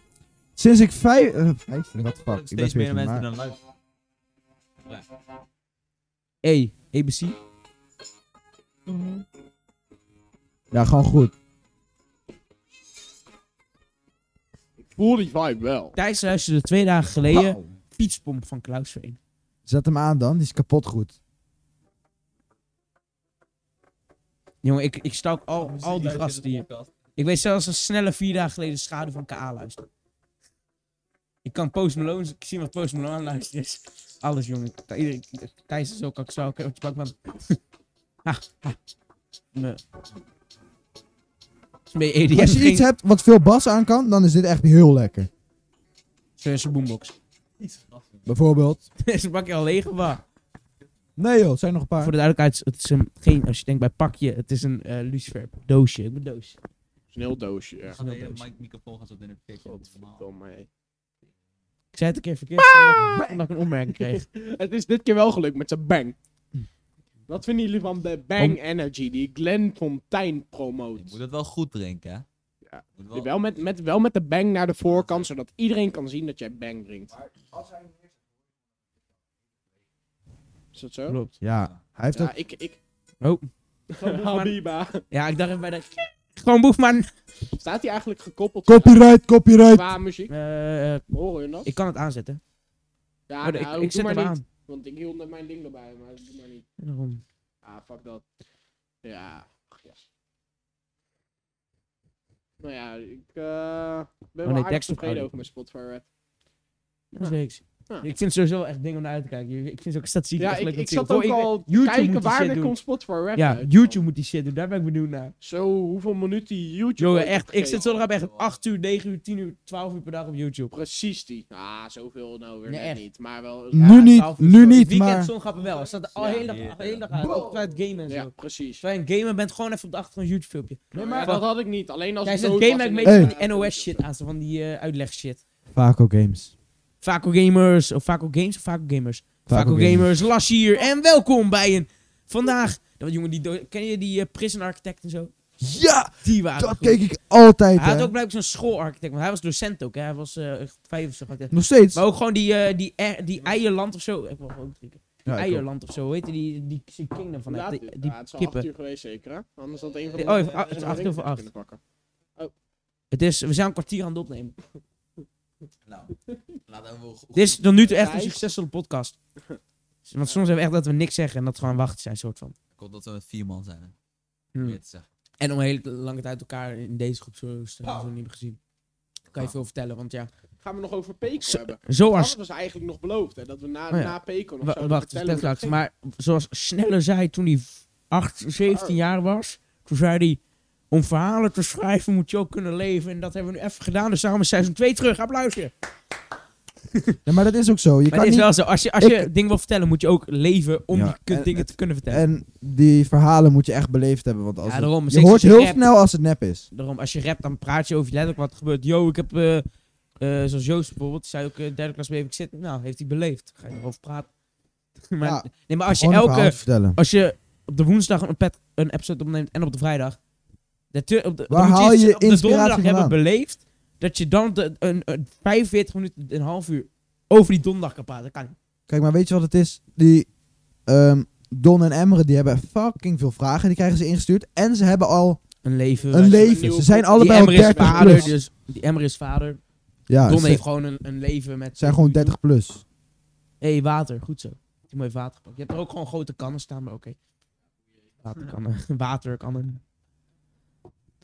Speaker 3: Sinds ik vijf... eh, vijftien, wat fuck. Ik ben
Speaker 4: Steeds
Speaker 3: 14,
Speaker 4: meer mensen
Speaker 3: maar...
Speaker 4: dan luisteren.
Speaker 1: Hey, ABC.
Speaker 3: Ja, gewoon goed.
Speaker 2: Ik voel die vibe wel.
Speaker 1: Thijs luisterde twee dagen geleden Fietspomp van Klaus Veen.
Speaker 3: Zet hem aan dan, die is kapot goed.
Speaker 1: Jongen, ik, ik stalk al, al die gasten hier. Ik weet zelfs een snelle vier dagen geleden schade van KA luisteren. Ik kan Post Malone, ik zie wat Post Malone aan luisteren is. Alles jongen. Thij- iedereen- Thijs is ook al zo. Ik heb het pak van. Ha, ha. Me. Mee EDM.
Speaker 3: Als je iets hebt wat veel bas aan kan, dan is dit echt heel lekker.
Speaker 1: hebt. Zijn boombox.
Speaker 3: Bijvoorbeeld...
Speaker 1: Zijn pakje al leeg of wat?
Speaker 3: Nee joh, het zijn nog een paar.
Speaker 1: Voor de duidelijkheid, het is een, geen, als je denkt bij pakje, het is een eh, lucifer doosje. Ik bedoel doosje.
Speaker 2: Het is een heel doosje. echt.
Speaker 4: Gaat de hele mic- microfoon gaat zo in een picture. dat is normaal.
Speaker 2: Godverdomme, hé.
Speaker 1: Ik zei het een keer verkeerd
Speaker 2: Ah!
Speaker 1: omdat ik- omdat ik een opmerking kreeg.
Speaker 2: Het is dit keer wel gelukt met zijn bang. Wat vinden jullie van de Bang
Speaker 1: Om-
Speaker 2: Energy die Glenn Fontijn promoot?
Speaker 4: Je moet het wel goed drinken, hè?
Speaker 2: Ja.
Speaker 4: Je moet
Speaker 2: Ja, Wel met, met, wel met de bang naar de voorkant, zodat iedereen kan zien dat jij bang drinkt. Is dat zo?
Speaker 1: Klopt.
Speaker 3: Ja, hij heeft ook...
Speaker 2: Ja, ik... ik...
Speaker 1: Oh.
Speaker 2: Habiba.
Speaker 1: Ja, ik dacht even bij de... Gewoon boefman.
Speaker 2: Staat hij eigenlijk gekoppeld
Speaker 3: Copyright, copyright!
Speaker 2: qua muziek?
Speaker 1: Eh, eh,
Speaker 2: Hoor je dat?
Speaker 1: ik kan het aanzetten.
Speaker 2: ja,
Speaker 1: Maar
Speaker 2: nou,
Speaker 1: ik,
Speaker 2: doe
Speaker 1: ik zet
Speaker 2: maar
Speaker 1: hem
Speaker 2: niet.
Speaker 1: aan.
Speaker 2: Want ik hield net mijn ding erbij, maar doe maar niet.
Speaker 1: Daarom.
Speaker 2: Ah, fuck dat. Ja. Ach, ja. Nou ja, ik eh, ben
Speaker 1: Oh, nee,
Speaker 2: wel aardig
Speaker 1: tekst op
Speaker 2: tevreden
Speaker 1: audio.
Speaker 2: over mijn Spotify Red.
Speaker 1: Dat
Speaker 2: Ah.
Speaker 1: is niks.
Speaker 2: Ja.
Speaker 1: Ik vind het sowieso wel echt ding om naar uit te kijken. Ik vind het ook statistiek
Speaker 2: Ja,
Speaker 1: echt
Speaker 2: ik,
Speaker 1: leuk om
Speaker 2: ik
Speaker 1: te zien.
Speaker 2: zat ook
Speaker 1: Voor-
Speaker 2: al
Speaker 1: YouTube moet
Speaker 2: kijken
Speaker 1: die shit
Speaker 2: waar er
Speaker 1: doen.
Speaker 2: komt Spotify Red
Speaker 1: Ja,
Speaker 2: uit.
Speaker 1: YouTube moet die shit doen. Daar ben ik benieuwd naar.
Speaker 2: Zo, hoeveel minuten YouTube...
Speaker 1: Jongen,
Speaker 2: ooit
Speaker 1: echt. Ik
Speaker 2: heeft
Speaker 1: zit zo erop echt 8 uur, 9 uur, 10 uur, 12 uur per dag op YouTube.
Speaker 2: Precies die. Ah, zoveel nou weer
Speaker 1: Nee,
Speaker 2: net
Speaker 1: echt.
Speaker 2: niet. Maar wel... ja,
Speaker 3: Nu niet,
Speaker 1: 12 uur.
Speaker 3: nu niet,
Speaker 1: Weekend,
Speaker 3: maar...
Speaker 1: zon grappen wel. Er staat al
Speaker 2: Ja,
Speaker 1: heel dag,
Speaker 4: ja.
Speaker 1: de hele dag aan. Ook Terwijl het gamen en zo.
Speaker 2: Ja, precies.
Speaker 1: Terwijl je aan het gamen bent, gewoon even op de achtergrond YouTube filmpje.
Speaker 2: Nee, maar
Speaker 1: Fuck.
Speaker 2: dat had ik niet. Alleen als
Speaker 1: Jij
Speaker 2: het
Speaker 1: zet
Speaker 2: dood
Speaker 1: game
Speaker 2: was
Speaker 1: met
Speaker 2: en
Speaker 1: meestal
Speaker 2: ik-
Speaker 1: van die NOS shit aan, zo van die eh, uitleg shit.
Speaker 3: Vaco Games.
Speaker 1: Vaco Gamers, of Vaco Games of Vaco Gamers? Vaco,
Speaker 3: Vaco
Speaker 1: Gamers,
Speaker 3: Gamers.
Speaker 1: Las hier en welkom bij een... Vandaag, dat jongen, die do- ken je die eh, prison architect en zo?
Speaker 3: Ja,
Speaker 1: Die waren
Speaker 3: dat
Speaker 1: goed.
Speaker 3: keek ik altijd,
Speaker 1: Hij had
Speaker 3: hè.
Speaker 1: ook blijkbaar zo'n schoolarchitect, want hij was docent ook, hè. Hij was eh vijf of zo. architect.
Speaker 3: Nog steeds.
Speaker 1: Maar ook gewoon die, eh, die, eh, die eierland of zo. Ik wil gewoon drinken.
Speaker 3: Ja, ik ook.
Speaker 1: eierland of zo, hoe heet die, die, die, kingdom van
Speaker 2: Laat-
Speaker 1: die,
Speaker 2: ja,
Speaker 1: die
Speaker 2: het is al acht
Speaker 1: kippen.
Speaker 2: uur geweest zeker, hè? Anders had een van
Speaker 1: Oh,
Speaker 2: de...
Speaker 1: het is acht- het is acht uur voor acht.
Speaker 2: kunnen pakken.
Speaker 1: Het is, we zijn een kwartier aan het opnemen.
Speaker 4: Nou, laten we goed.
Speaker 1: Dit is tot nu toe echt een
Speaker 2: Vijf.
Speaker 1: succesvolle podcast. Want soms hebben we echt dat we niks zeggen en dat we gewoon wachten zijn, soort van.
Speaker 4: Komt dat we met vier man zijn. Hè?
Speaker 1: Hmm.
Speaker 4: Meer te zeggen.
Speaker 1: En om een hele lange tijd elkaar in deze groep zo te hebben we niet meer gezien. Kan je
Speaker 4: Ah.
Speaker 1: veel vertellen, want ja.
Speaker 2: Gaan we nog over Peco
Speaker 1: Zo-
Speaker 2: hebben?
Speaker 1: Zoals.
Speaker 2: Dat was eigenlijk nog beloofd, hè? Dat we na,
Speaker 1: Oh ja.
Speaker 2: na Peco nog
Speaker 1: wa-
Speaker 2: zouden
Speaker 1: Wacht,
Speaker 2: vertellen
Speaker 1: vertel
Speaker 2: hoe dat
Speaker 1: straks. Maar zoals Sneller zei toen hij 8,
Speaker 3: Ah.
Speaker 1: 17 jaar was. Toen zei hij. Om verhalen te schrijven moet je ook kunnen leven. En dat hebben we nu even gedaan. Dus daarom is seizoen 2 terug. Applausje.
Speaker 3: Ja, maar dat is ook zo. Je
Speaker 1: Maar
Speaker 3: kan
Speaker 1: het is
Speaker 3: niet...
Speaker 1: wel zo. Als je, als
Speaker 3: Ik-
Speaker 1: je dingen wil vertellen, moet je ook leven om
Speaker 3: Ja,
Speaker 1: die kut
Speaker 3: en
Speaker 1: dingen
Speaker 3: het-
Speaker 1: te kunnen vertellen.
Speaker 3: En die verhalen moet je echt beleefd hebben. Want als
Speaker 1: Ja,
Speaker 3: het-
Speaker 1: daarom.
Speaker 3: je
Speaker 1: Zeker
Speaker 3: hoort
Speaker 1: als je
Speaker 3: heel
Speaker 1: rapt.
Speaker 3: snel als het nep is.
Speaker 1: Daarom, als je rapt, dan praat je over letterlijk wat er gebeurt. Yo, ik heb, eh, eh, zoals Joost bijvoorbeeld, die zei ook eh, derde klas B, heb ik zit. Nou, heeft hij beleefd. Ga je erover praten. Maar,
Speaker 3: Ja,
Speaker 1: nee, maar als je
Speaker 3: Gewoon een verhaal
Speaker 1: elke...
Speaker 3: te vertellen.
Speaker 1: Als je op de woensdag een, pet- een episode opneemt en op de vrijdag... De tu- op de,
Speaker 3: Waar
Speaker 1: dan moet
Speaker 3: haal
Speaker 1: iets
Speaker 3: je
Speaker 1: op de
Speaker 3: inspiratie
Speaker 1: donderdag hebben
Speaker 3: vandaan?
Speaker 1: beleefd... Dat je dan de, een, een 45 minuten, een half uur over die donderdag kan praten. Dat kan niet.
Speaker 3: Kijk, maar weet je wat het is? Die ehm, Don en Emre, die hebben fucking veel vragen. Die krijgen ze ingestuurd. En ze hebben al
Speaker 1: Een leven.
Speaker 3: een leven.
Speaker 2: nieuwe
Speaker 3: Ze zijn
Speaker 2: podcast.
Speaker 1: Die
Speaker 3: allebei al
Speaker 1: Emmer is
Speaker 3: 30
Speaker 1: vader.
Speaker 3: plus.
Speaker 1: Dus, die Emmer is vader.
Speaker 3: Ja,
Speaker 1: Don
Speaker 3: ze
Speaker 1: heeft gewoon een, een leven met...
Speaker 3: zijn gewoon 30 plus.
Speaker 1: Hé, hey, water. Goed zo. Die mooi water gepakt. Je hebt er ook gewoon grote kannen staan, maar oké. Waterkannen. Waterkannen.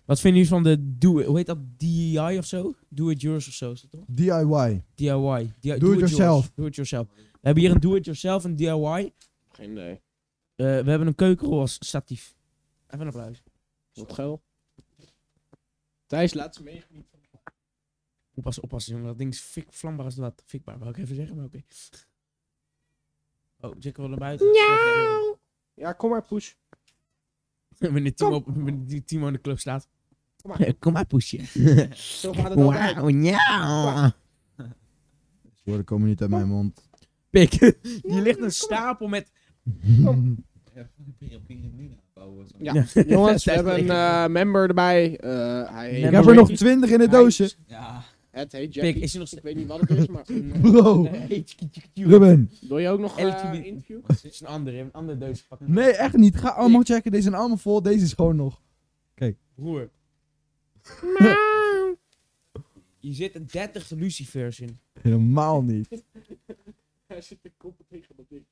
Speaker 1: Wat vinden jullie van de do hoe heet dat? DIY of zo? Do it yours of zo is dat toch?
Speaker 3: DIY.
Speaker 1: DIY. Di-
Speaker 3: it
Speaker 1: yours.
Speaker 3: yourself.
Speaker 1: Do it yourself. We hebben hier een do it yourself en DIY. Eh,
Speaker 2: Geen idee.
Speaker 1: we hebben een keukenrol als statief. Even een applaus.
Speaker 2: Wat geil. Thijs, laat ze mee.
Speaker 1: Oppassen, oppassen jongen. Dat ding is fik vlambaar als wat. Fikbaar, wou ik even zeggen, maar oké. Oh, Jack wil naar buiten. Miauw!
Speaker 2: Ja, kom maar, push.
Speaker 1: Wanneer Timo, op- wanneer Timo in de club staat.
Speaker 2: Kom maar.
Speaker 1: Kom maar, poesje.
Speaker 2: Zo gaat het altijd.
Speaker 1: Wauw, ja.
Speaker 3: Die woorden komen niet uit mijn mond.
Speaker 1: Pik, hier ligt een stapel met...
Speaker 2: Ja.
Speaker 1: Ja.
Speaker 2: Jongens, we
Speaker 1: Thijs
Speaker 2: hebben een
Speaker 1: Bleker.
Speaker 2: eh, member erbij. Eh, hij heet...
Speaker 3: Ik
Speaker 1: Member
Speaker 3: heb er nog
Speaker 1: Ricky.
Speaker 3: 20 in het
Speaker 2: Hij-
Speaker 3: doosje.
Speaker 4: Ja.
Speaker 2: Het heet
Speaker 1: Pik,
Speaker 2: Jackie.
Speaker 1: is hij nog
Speaker 2: Ik
Speaker 1: steeds...
Speaker 2: weet niet wat het is, maar...
Speaker 3: Bro.
Speaker 2: eh,
Speaker 3: Ruben.
Speaker 2: Wil je ook nog eh,
Speaker 1: LTB.
Speaker 2: een interview?
Speaker 1: Het is een andere, een andere deus pakken.
Speaker 3: Nee, echt niet. Ga allemaal checken. Deze zijn allemaal vol. Deze is gewoon nog.
Speaker 1: Broer. Hier zitten 30 lucifers in.
Speaker 3: Helemaal niet.
Speaker 2: Hij zit te koppen tegen dat ding.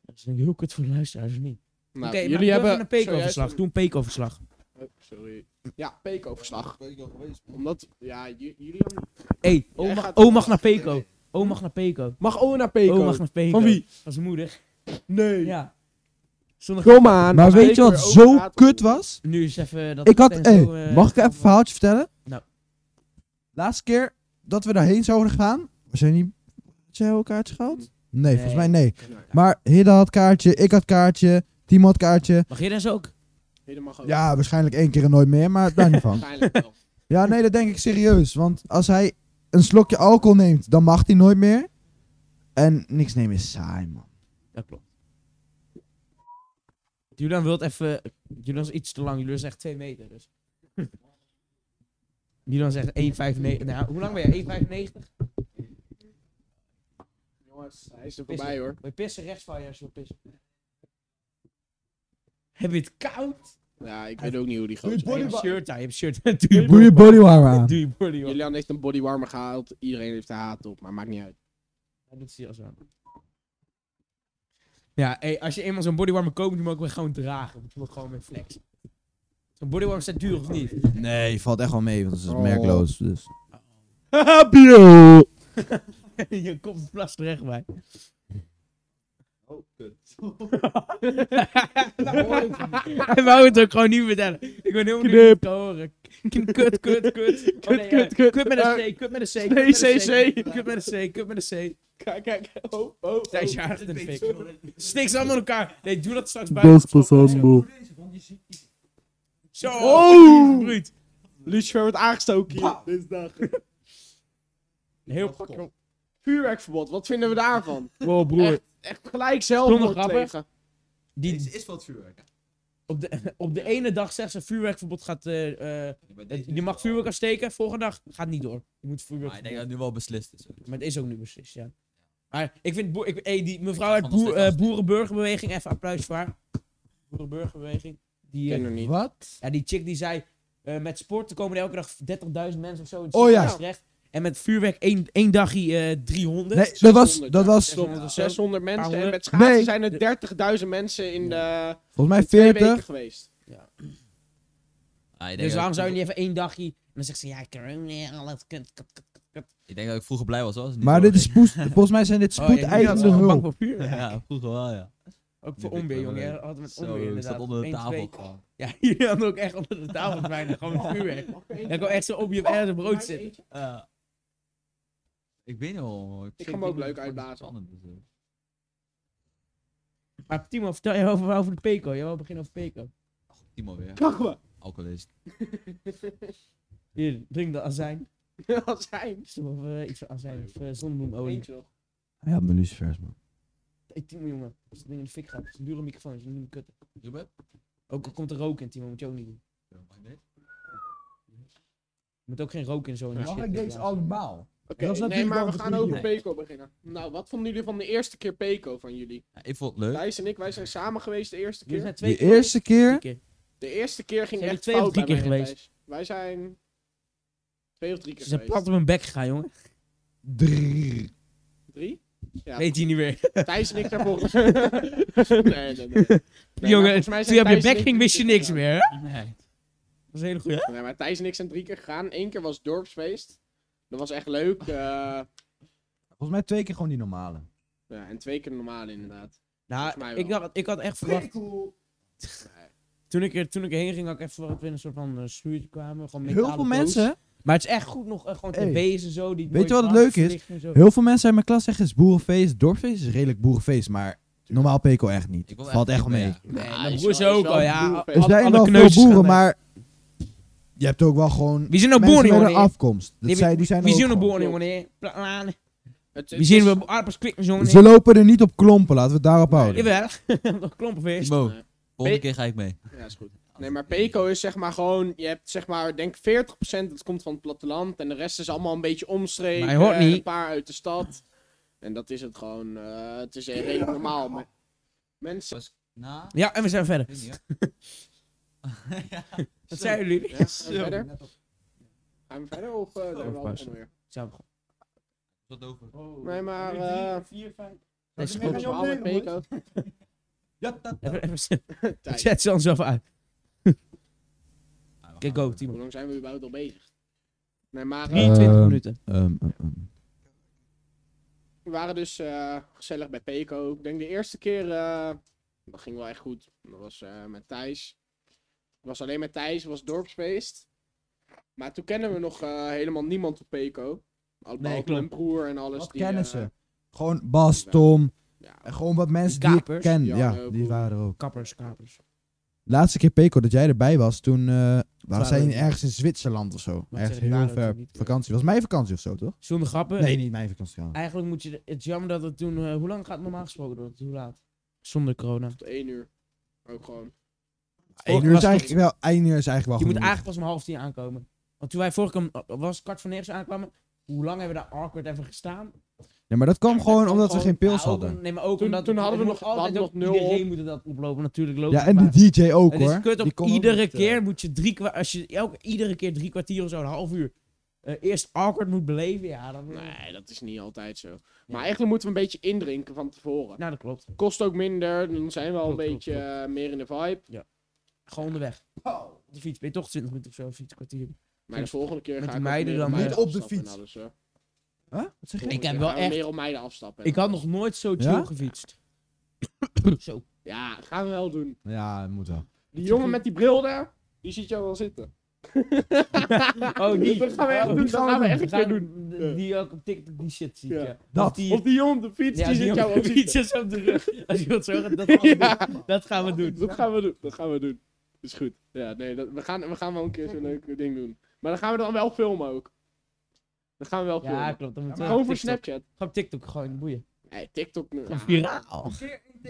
Speaker 1: Dat is een heel kut voor de luisteraars, of niet?
Speaker 2: Nou,
Speaker 1: Oké, maar
Speaker 2: jullie hebben...
Speaker 1: een
Speaker 2: zojuist-
Speaker 1: peekoverslag. Doe een peekoverslag.
Speaker 2: Oh, sorry. Ja, peekoverslag.
Speaker 4: Wat
Speaker 2: Omdat... Ja, j- jullie hebben...
Speaker 1: Hé,
Speaker 2: Jij
Speaker 1: hey,
Speaker 2: gaat-
Speaker 1: O mag naar Peko. O mag naar Peko.
Speaker 2: Mag Owen naar
Speaker 1: O mag naar Peko.
Speaker 2: Van wie?
Speaker 1: Van zijn moeder.
Speaker 2: Nee.
Speaker 1: Ja. Zondag...
Speaker 2: Kom aan.
Speaker 3: Maar
Speaker 2: Als
Speaker 3: weet
Speaker 2: ik
Speaker 3: je wat
Speaker 2: weer
Speaker 3: zo
Speaker 2: overpraat-
Speaker 3: kut was?
Speaker 1: Nu is even dat...
Speaker 3: Ik had...
Speaker 1: Tenzij
Speaker 3: Hey,
Speaker 1: zo, eh,
Speaker 3: mag ik even een verhaaltje vertellen?
Speaker 1: Nou.
Speaker 3: Laatste keer dat we daarheen zouden gaan... We zijn niet... Zijn we kaartjes gehaald? Nee, volgens mij nee. Maar Hidda had kaartje, ik had kaartje, Timo had kaartje.
Speaker 1: Mag je dat ook?
Speaker 2: Helemaal goed.
Speaker 3: Ja, waarschijnlijk één keer en nooit meer, maar daar niet van.
Speaker 2: Waarschijnlijk wel.
Speaker 3: Ja, nee, dat denk ik serieus. Want als hij een slokje alcohol neemt, dan mag hij nooit meer. En niks nemen is saai, man.
Speaker 1: Dat klopt. Julian wilt even... Julian is iets te lang. Julian zegt 2 meter, dus... Julian zegt 1,95... Nou, hoe lang ben je? 1,95?
Speaker 2: Jongens, hij is er voorbij hoor.
Speaker 1: Wil je pissen rechts van je als je wil pissen? Heb je het koud?
Speaker 2: Ja, ik weet ook niet hoe die
Speaker 3: Doe
Speaker 2: gozer
Speaker 1: Je
Speaker 3: je
Speaker 1: hebt
Speaker 2: heet.
Speaker 3: bodywarmer.
Speaker 1: shirt aan, je hebt shirt aan. Doe je
Speaker 3: Doe je
Speaker 1: body-
Speaker 3: bodywarmer aan.
Speaker 1: Doe je body warm.
Speaker 2: Julian heeft een bodywarmer gehaald. Iedereen heeft de haat op, maar maakt niet uit.
Speaker 1: Hij doet serieus aan. Ja, hey, als je eenmaal zo'n bodywarmer koopt, moet je hem ook weer gewoon dragen. Want je wordt gewoon weer flex. Zo'n bodywarmer staat duur of niet?
Speaker 3: Nee, valt echt wel mee, want het is
Speaker 2: Oh.
Speaker 3: merkloos. Dus.
Speaker 1: je komt plas terecht bij.
Speaker 4: Oh, kut.
Speaker 1: Hij wou het ook gewoon niet vertellen. Ik ben heel benieuwd om te horen. Kut, kut, kut. Kut,
Speaker 2: Kut, kut,
Speaker 1: Oh, eh,
Speaker 2: kut.
Speaker 1: Kut met een C, kut met een C.
Speaker 2: Nee, CC.
Speaker 1: Kut met een C, kut met een C.
Speaker 2: Kijk, kijk. Oh, oh,
Speaker 1: Thijs jarig in de fik. Stik ze allemaal in elkaar. Nee, doe dat straks buiten.
Speaker 5: Dos passando.
Speaker 1: Zo.
Speaker 2: Oh.
Speaker 1: Bruut.
Speaker 2: Lucifer wordt aangestoken hier. Dinsdag.
Speaker 1: Heel fucking.
Speaker 2: Vuurwerkverbod, wat vinden we daarvan?
Speaker 1: Wow, broer.
Speaker 2: Echt, echt gelijk zelf
Speaker 1: grappen.
Speaker 2: tegen.
Speaker 1: Die,
Speaker 4: is wat vuurwerk. hè?
Speaker 1: op, de, op de ene dag zegt ze vuurwerkverbod gaat... eh, eh,
Speaker 4: Maar deze
Speaker 1: je
Speaker 4: is Ah,
Speaker 1: mag
Speaker 4: wel-
Speaker 1: vuurwerk afsteken. Volgende dag gaat niet door. Je moet vuurwerk...
Speaker 4: Maar ik denk dat het nu wel beslist is. hoor.
Speaker 1: Maar het is ook nu beslist, ja. Maar ik vind... boer- Ik, hey, die mevrouw uit
Speaker 4: Ik ga van nog
Speaker 1: boer,
Speaker 4: steeds
Speaker 1: eh,
Speaker 4: afsteken.
Speaker 1: Boerenburgerbeweging... Even applaus voor haar. Boerenburgerbeweging. Die, eh,
Speaker 2: ken er niet.
Speaker 3: Wat?
Speaker 1: ja, die chick die zei... eh, met sporten komen er elke dag 30.000 mensen of zo. in het
Speaker 3: Oh, ja.
Speaker 1: ziekenhuis terecht. En met vuurwerk één, één dagje eh, 300.
Speaker 3: Nee, dat was,
Speaker 2: 600,
Speaker 3: dat
Speaker 2: ja.
Speaker 3: was
Speaker 1: Stop. Ja.
Speaker 2: 600 mensen en
Speaker 1: honderd.
Speaker 2: met schaatsen
Speaker 3: Nee.
Speaker 2: zijn er 30.000 mensen in de
Speaker 3: volgens mij
Speaker 2: twee weken
Speaker 3: 40.
Speaker 2: geweest.
Speaker 4: Ah, ik denk
Speaker 1: Dus
Speaker 4: dat-
Speaker 1: waarom zou je niet even één dagje... En dan zegt ze, ja, corona, alles kut, kut, kut, kut.
Speaker 4: Ik denk dat ik vroeger blij was. hoor, als het niet
Speaker 3: Maar dit is
Speaker 4: doorging.
Speaker 3: spoed, volgens mij zijn dit
Speaker 1: Oh,
Speaker 3: spoedeisende
Speaker 1: Bang
Speaker 3: hulp.
Speaker 1: voor vuur.
Speaker 4: Ja, vroeger wel, ja.
Speaker 1: Ook voor
Speaker 4: Ik- ik
Speaker 1: onweer,
Speaker 4: ben
Speaker 1: jongen.
Speaker 4: wel-
Speaker 1: Ja, Hadden we het
Speaker 4: Zo,
Speaker 1: onweer
Speaker 4: ik
Speaker 1: inderdaad.
Speaker 4: zat onder de
Speaker 1: Eén,
Speaker 4: tafel.
Speaker 1: twee.
Speaker 4: gewoon.
Speaker 1: Ja, jullie hadden ook echt onder de tafel bijna. Gewoon vuurwerk. En gewoon echt zo op je ergens brood zitten.
Speaker 4: Ja. Ik weet niet wel.
Speaker 2: Ik ga hem ook leuk uitblazen.
Speaker 4: dus, eh,
Speaker 1: Maar Timo, vertel je over, over de Peco. Jij wil beginnen over Peco.
Speaker 4: Timo weer.
Speaker 2: Kach me.
Speaker 4: Alcoholist.
Speaker 1: Hier, drink de azijn.
Speaker 2: Wat zijn?
Speaker 1: Is er wel, eh, iets van azijn of eh, zonnebloemolie.
Speaker 2: Eentje nog.
Speaker 3: Hij had mijn lucifers, man.
Speaker 1: Hey, Timo, jongen. Als het ding in de fik gaat, het is een dure microfoon, het is een nieuwe kutten.
Speaker 4: Ruben?
Speaker 1: Ook al komt er rook in, Timo, moet je ook niet doen.
Speaker 4: Ja, maakt niet.
Speaker 1: Je moet ook geen rook in zo in de
Speaker 5: Mag
Speaker 1: shit
Speaker 5: ik deze
Speaker 1: blazen.
Speaker 5: allemaal?
Speaker 2: Oké,
Speaker 5: Dat is
Speaker 2: nee,
Speaker 5: natuurlijk
Speaker 2: maar
Speaker 5: wel
Speaker 2: we
Speaker 5: een
Speaker 2: gaan
Speaker 5: goede
Speaker 2: over
Speaker 1: idee.
Speaker 2: Peco beginnen. Nou, wat vonden jullie van de eerste keer Peco van jullie?
Speaker 4: Ja, ik vond het leuk.
Speaker 2: Thijs en ik, wij zijn samen geweest de eerste
Speaker 1: Jullie zijn
Speaker 2: keer.
Speaker 1: twee
Speaker 3: de eerste keer.
Speaker 1: keer.
Speaker 2: De eerste keer ging
Speaker 1: Zijn
Speaker 2: echt
Speaker 1: jullie twee
Speaker 2: fout
Speaker 1: of drie
Speaker 2: bij
Speaker 1: keer
Speaker 2: mij en
Speaker 1: geweest?
Speaker 2: Thijs. Wij zijn twee of drie keer
Speaker 1: Ze zijn
Speaker 2: geweest.
Speaker 1: plat op mijn bek gegaan, jongen.
Speaker 3: Drrrr.
Speaker 2: Drie? Ja.
Speaker 1: Weet je niet meer.
Speaker 2: Thijs en ik zijn volgens mij... nee, nee, nee. Nee, maar
Speaker 1: jongen,
Speaker 2: volgens mij
Speaker 1: toen je
Speaker 2: zijn
Speaker 1: op je
Speaker 2: Thijs en
Speaker 1: bek
Speaker 2: ik
Speaker 1: ging, wist je
Speaker 2: drie keer
Speaker 1: niks
Speaker 2: gegaan.
Speaker 1: meer, hè?
Speaker 4: Nee.
Speaker 1: Dat is een hele goeie.
Speaker 2: Nee, maar Thijs en ik zijn drie keer gegaan. Eén keer was dorpsfeest. Dat was echt leuk. eh,
Speaker 5: Volgens mij twee keer gewoon die normale.
Speaker 2: ja, en twee keer normaal inderdaad. Volgens mij
Speaker 1: Nou,
Speaker 2: wel.
Speaker 1: ik, dacht, ik had echt verwacht... Toen ik, er, toen ik erheen ging, had ik echt verwacht dat we in een soort van eh, schuurtje kwamen. Gewoon
Speaker 3: Heel veel
Speaker 1: metalen
Speaker 3: mensen,
Speaker 1: doos. Maar het is echt goed nog, eh, gewoon
Speaker 3: Hey.
Speaker 1: tv's en zo. Die
Speaker 3: Weet je
Speaker 1: mooie
Speaker 3: wat het leuk is?
Speaker 1: verlichting en zo.
Speaker 3: heel veel mensen uit mijn klas zeggen is boerenfeest, dorpfeest is redelijk boerenfeest, maar normaal Peco echt niet.
Speaker 4: Ik wil
Speaker 3: Valt echt wel mee.
Speaker 4: ja.
Speaker 1: Nee,
Speaker 2: Ja,
Speaker 1: mijn
Speaker 2: is
Speaker 1: broer is
Speaker 2: wel- is
Speaker 1: ook
Speaker 2: wel
Speaker 1: al,
Speaker 2: een
Speaker 1: ja.
Speaker 2: boerenfeest.
Speaker 3: Er
Speaker 1: alle-
Speaker 3: zijn
Speaker 1: alle
Speaker 3: wel veel
Speaker 1: kneusjes gaan
Speaker 3: boeren,
Speaker 1: daar.
Speaker 3: maar je hebt ook wel gewoon
Speaker 1: Wie zijn nou
Speaker 3: mensen
Speaker 1: boeren,
Speaker 3: met een
Speaker 1: jongen?
Speaker 3: afkomst. Dat
Speaker 1: Nee,
Speaker 3: zijn,
Speaker 1: wie-
Speaker 3: die zijn er
Speaker 1: Wie nou
Speaker 3: ook
Speaker 1: zien we
Speaker 3: gewoon.
Speaker 1: boeren, jongen? Planen.
Speaker 2: Het-
Speaker 1: Wie
Speaker 2: het
Speaker 1: zien
Speaker 2: is-
Speaker 1: we aardappels kwikken, jongen?
Speaker 3: Ze lopen er niet op klompen, laten we het daarop
Speaker 4: Nee.
Speaker 3: houden.
Speaker 1: Jawel, nog klompenvis.
Speaker 4: Timo,
Speaker 2: Nee.
Speaker 4: volgende keer ga ik mee.
Speaker 2: Ja, is goed. Nee, maar Peco is zeg maar gewoon, je hebt zeg maar, denk 40% dat komt van het platteland en de rest is allemaal een beetje omstreken.
Speaker 1: Maar je hoort
Speaker 2: eh,
Speaker 1: niet.
Speaker 2: Een paar uit de stad. En dat is het gewoon, eh, het is redelijk normaal. maar Mensen.
Speaker 4: Was na?
Speaker 1: Ja, en we zijn verder.
Speaker 4: Weet niet, hoor. Ja.
Speaker 1: Wat zijn jullie?
Speaker 2: Ja, gaan we verder? Gaan we verder of eh, doen we
Speaker 1: pas.
Speaker 2: allemaal weer?
Speaker 1: Zo,
Speaker 4: Tot over.
Speaker 2: Nee, maar, eh
Speaker 1: nee,
Speaker 2: is
Speaker 1: is
Speaker 5: Gaan we
Speaker 2: goed.
Speaker 1: goed.
Speaker 5: weer
Speaker 2: Allemaal met
Speaker 5: opnemen,
Speaker 2: Peco.
Speaker 5: Ja, dat.
Speaker 1: Even- even-
Speaker 2: Tijd.
Speaker 1: Zet ze ons even uit.
Speaker 4: Ja, we
Speaker 1: Kijk,
Speaker 4: gaan
Speaker 1: go,
Speaker 4: weer.
Speaker 2: Hoe
Speaker 1: Timo.
Speaker 2: lang zijn we überhaupt al bezig? Nee, maar eh,
Speaker 1: 23
Speaker 3: Ehm,
Speaker 1: minuten.
Speaker 3: Ehm, ehm, ehm.
Speaker 2: we waren dus eh, gezellig bij Peco. Ik denk de eerste keer, eh, dat ging wel echt goed. Dat was eh, met Thijs. Het was alleen met Thijs, het was dorpsfeest. Maar toen kennen we nog eh, helemaal niemand op Peco. Al
Speaker 3: Nee,
Speaker 2: behalve
Speaker 3: klopt.
Speaker 2: mijn broer en alles.
Speaker 3: Wat
Speaker 2: die,
Speaker 3: kennen
Speaker 2: eh,
Speaker 3: ze? Gewoon Bas, Tom,
Speaker 2: Ja.
Speaker 3: en gewoon wat mensen
Speaker 1: Die
Speaker 3: die ik
Speaker 1: kapers,
Speaker 3: ken.
Speaker 2: die
Speaker 3: Ja,
Speaker 2: hadden ook
Speaker 3: die
Speaker 2: goed.
Speaker 3: waren er ook.
Speaker 1: Kappers, kapers.
Speaker 3: Laatste keer Peco dat jij erbij was, toen eh waren zij
Speaker 1: we
Speaker 3: in-
Speaker 1: niet.
Speaker 3: ergens in Zwitserland of zo.
Speaker 1: Maar zeg,
Speaker 3: Ergens
Speaker 1: we
Speaker 3: heel
Speaker 1: waren
Speaker 3: ver
Speaker 1: toen niet.
Speaker 3: vakantie. Was mijn vakantie of zo, toch?
Speaker 1: Zonder grappen.
Speaker 3: Nee, niet mijn vakantie. trouwens.
Speaker 1: Eigenlijk moet je... de- Het is jammer dat het toen... eh, hoe lang gaat het normaal gesproken door? Hoe laat? Zonder corona.
Speaker 2: Tot één uur. Ook gewoon.
Speaker 1: Vorige
Speaker 3: Eén
Speaker 1: was
Speaker 3: uur is
Speaker 1: het-
Speaker 3: eigenlijk wel, één uur is eigenlijk wel
Speaker 1: oh, Je moet
Speaker 3: genoeg.
Speaker 1: eigenlijk pas om half tien aankomen. Want toen wij vorige keer... om- eh, Was kwart voor negen zo aankwamen... Hoe lang hebben we daar awkward even gestaan?
Speaker 3: Nee, maar dat kwam gewoon omdat we
Speaker 2: gewoon-
Speaker 3: geen pils
Speaker 1: Ah, ook
Speaker 3: hadden.
Speaker 1: om- nee, maar ook
Speaker 2: Toen-
Speaker 1: omdat...
Speaker 2: toen hadden we
Speaker 1: het
Speaker 2: nog-
Speaker 1: moet
Speaker 2: we
Speaker 1: altijd
Speaker 2: hadden
Speaker 1: ook-
Speaker 2: nog nul
Speaker 1: Iedereen
Speaker 2: op.
Speaker 1: moet het dat oplopen. Natuurlijk loopt
Speaker 3: Ja,
Speaker 1: het
Speaker 3: en
Speaker 1: maar-
Speaker 3: de DJ ook
Speaker 1: Het is
Speaker 3: hoor.
Speaker 1: kut
Speaker 3: Die
Speaker 1: op
Speaker 3: kon ook
Speaker 1: iedere
Speaker 3: niet, eh,
Speaker 1: keer moet je drie kwa- als je elke, iedere keer drie kwartier of zo, een half uur, eh, eerst awkward moet beleven, ja, dan...
Speaker 3: Hmm.
Speaker 2: Nee, dat is niet altijd zo. Maar eigenlijk moeten we een beetje indrinken van tevoren.
Speaker 1: Nou, dat klopt.
Speaker 2: Kost ook minder, dan zijn we al een
Speaker 1: Klopt, klopt,
Speaker 2: beetje eh, meer in de vibe.
Speaker 1: Gewoon onderweg. Op de fiets ben je toch 20 minuten of zo, fiets kwartier.
Speaker 2: Maar de volgende keer
Speaker 1: Met
Speaker 2: ga
Speaker 1: die
Speaker 2: ik ook
Speaker 1: meiden
Speaker 2: meer
Speaker 1: dan,
Speaker 2: meiden
Speaker 3: eh, Niet op de
Speaker 2: afstappen en
Speaker 3: fiets.
Speaker 2: alles, hoor.
Speaker 3: Huh? Wat zeg je?
Speaker 1: Ik
Speaker 2: Volgende
Speaker 1: heb
Speaker 2: keer
Speaker 1: wel
Speaker 2: gaan we
Speaker 1: echt-
Speaker 2: meer op meiden afstappen. en
Speaker 1: Ik had nog nooit zo chill
Speaker 3: Ja?
Speaker 1: gefietst. zo.
Speaker 2: Ja, gaan we wel doen.
Speaker 3: Ja, dat moet wel.
Speaker 2: Die jongen met die bril daar, die ziet jou wel zitten.
Speaker 1: Oh, die.
Speaker 2: Dat gaan we
Speaker 1: Oh,
Speaker 2: echt doen,
Speaker 1: die
Speaker 2: dat gaan we echt een
Speaker 1: gaan-
Speaker 2: keer doen.
Speaker 1: d- Die ook op TikTok die shit ziet,
Speaker 2: Ja.
Speaker 1: ja.
Speaker 3: Dat.
Speaker 1: Of die,
Speaker 2: Of die jongen op de fiets,
Speaker 1: ja,
Speaker 2: die
Speaker 1: die jongen
Speaker 2: ziet jou
Speaker 1: op
Speaker 2: wel
Speaker 1: de
Speaker 2: zitten.
Speaker 1: fiets op de rug. Als je wilt zorgen, dat gaan we
Speaker 2: Ja.
Speaker 1: doen. Dat gaan we doen.
Speaker 2: Dat gaan we doen, dat gaan we doen. Is goed. Ja, nee, dat, we, gaan, we gaan wel een keer zo'n leuk ding doen. Maar dan gaan we dan wel filmen ook. Dan gaan we wel filmen.
Speaker 1: Ja, klopt. Dan moeten we
Speaker 2: Gewoon
Speaker 1: op
Speaker 2: voor
Speaker 1: TikTok.
Speaker 2: Snapchat.
Speaker 1: Gewoon op TikTok, gewoon boeien.
Speaker 2: Nee, TikTok nu.
Speaker 1: Gewoon
Speaker 2: ja.
Speaker 1: viraal.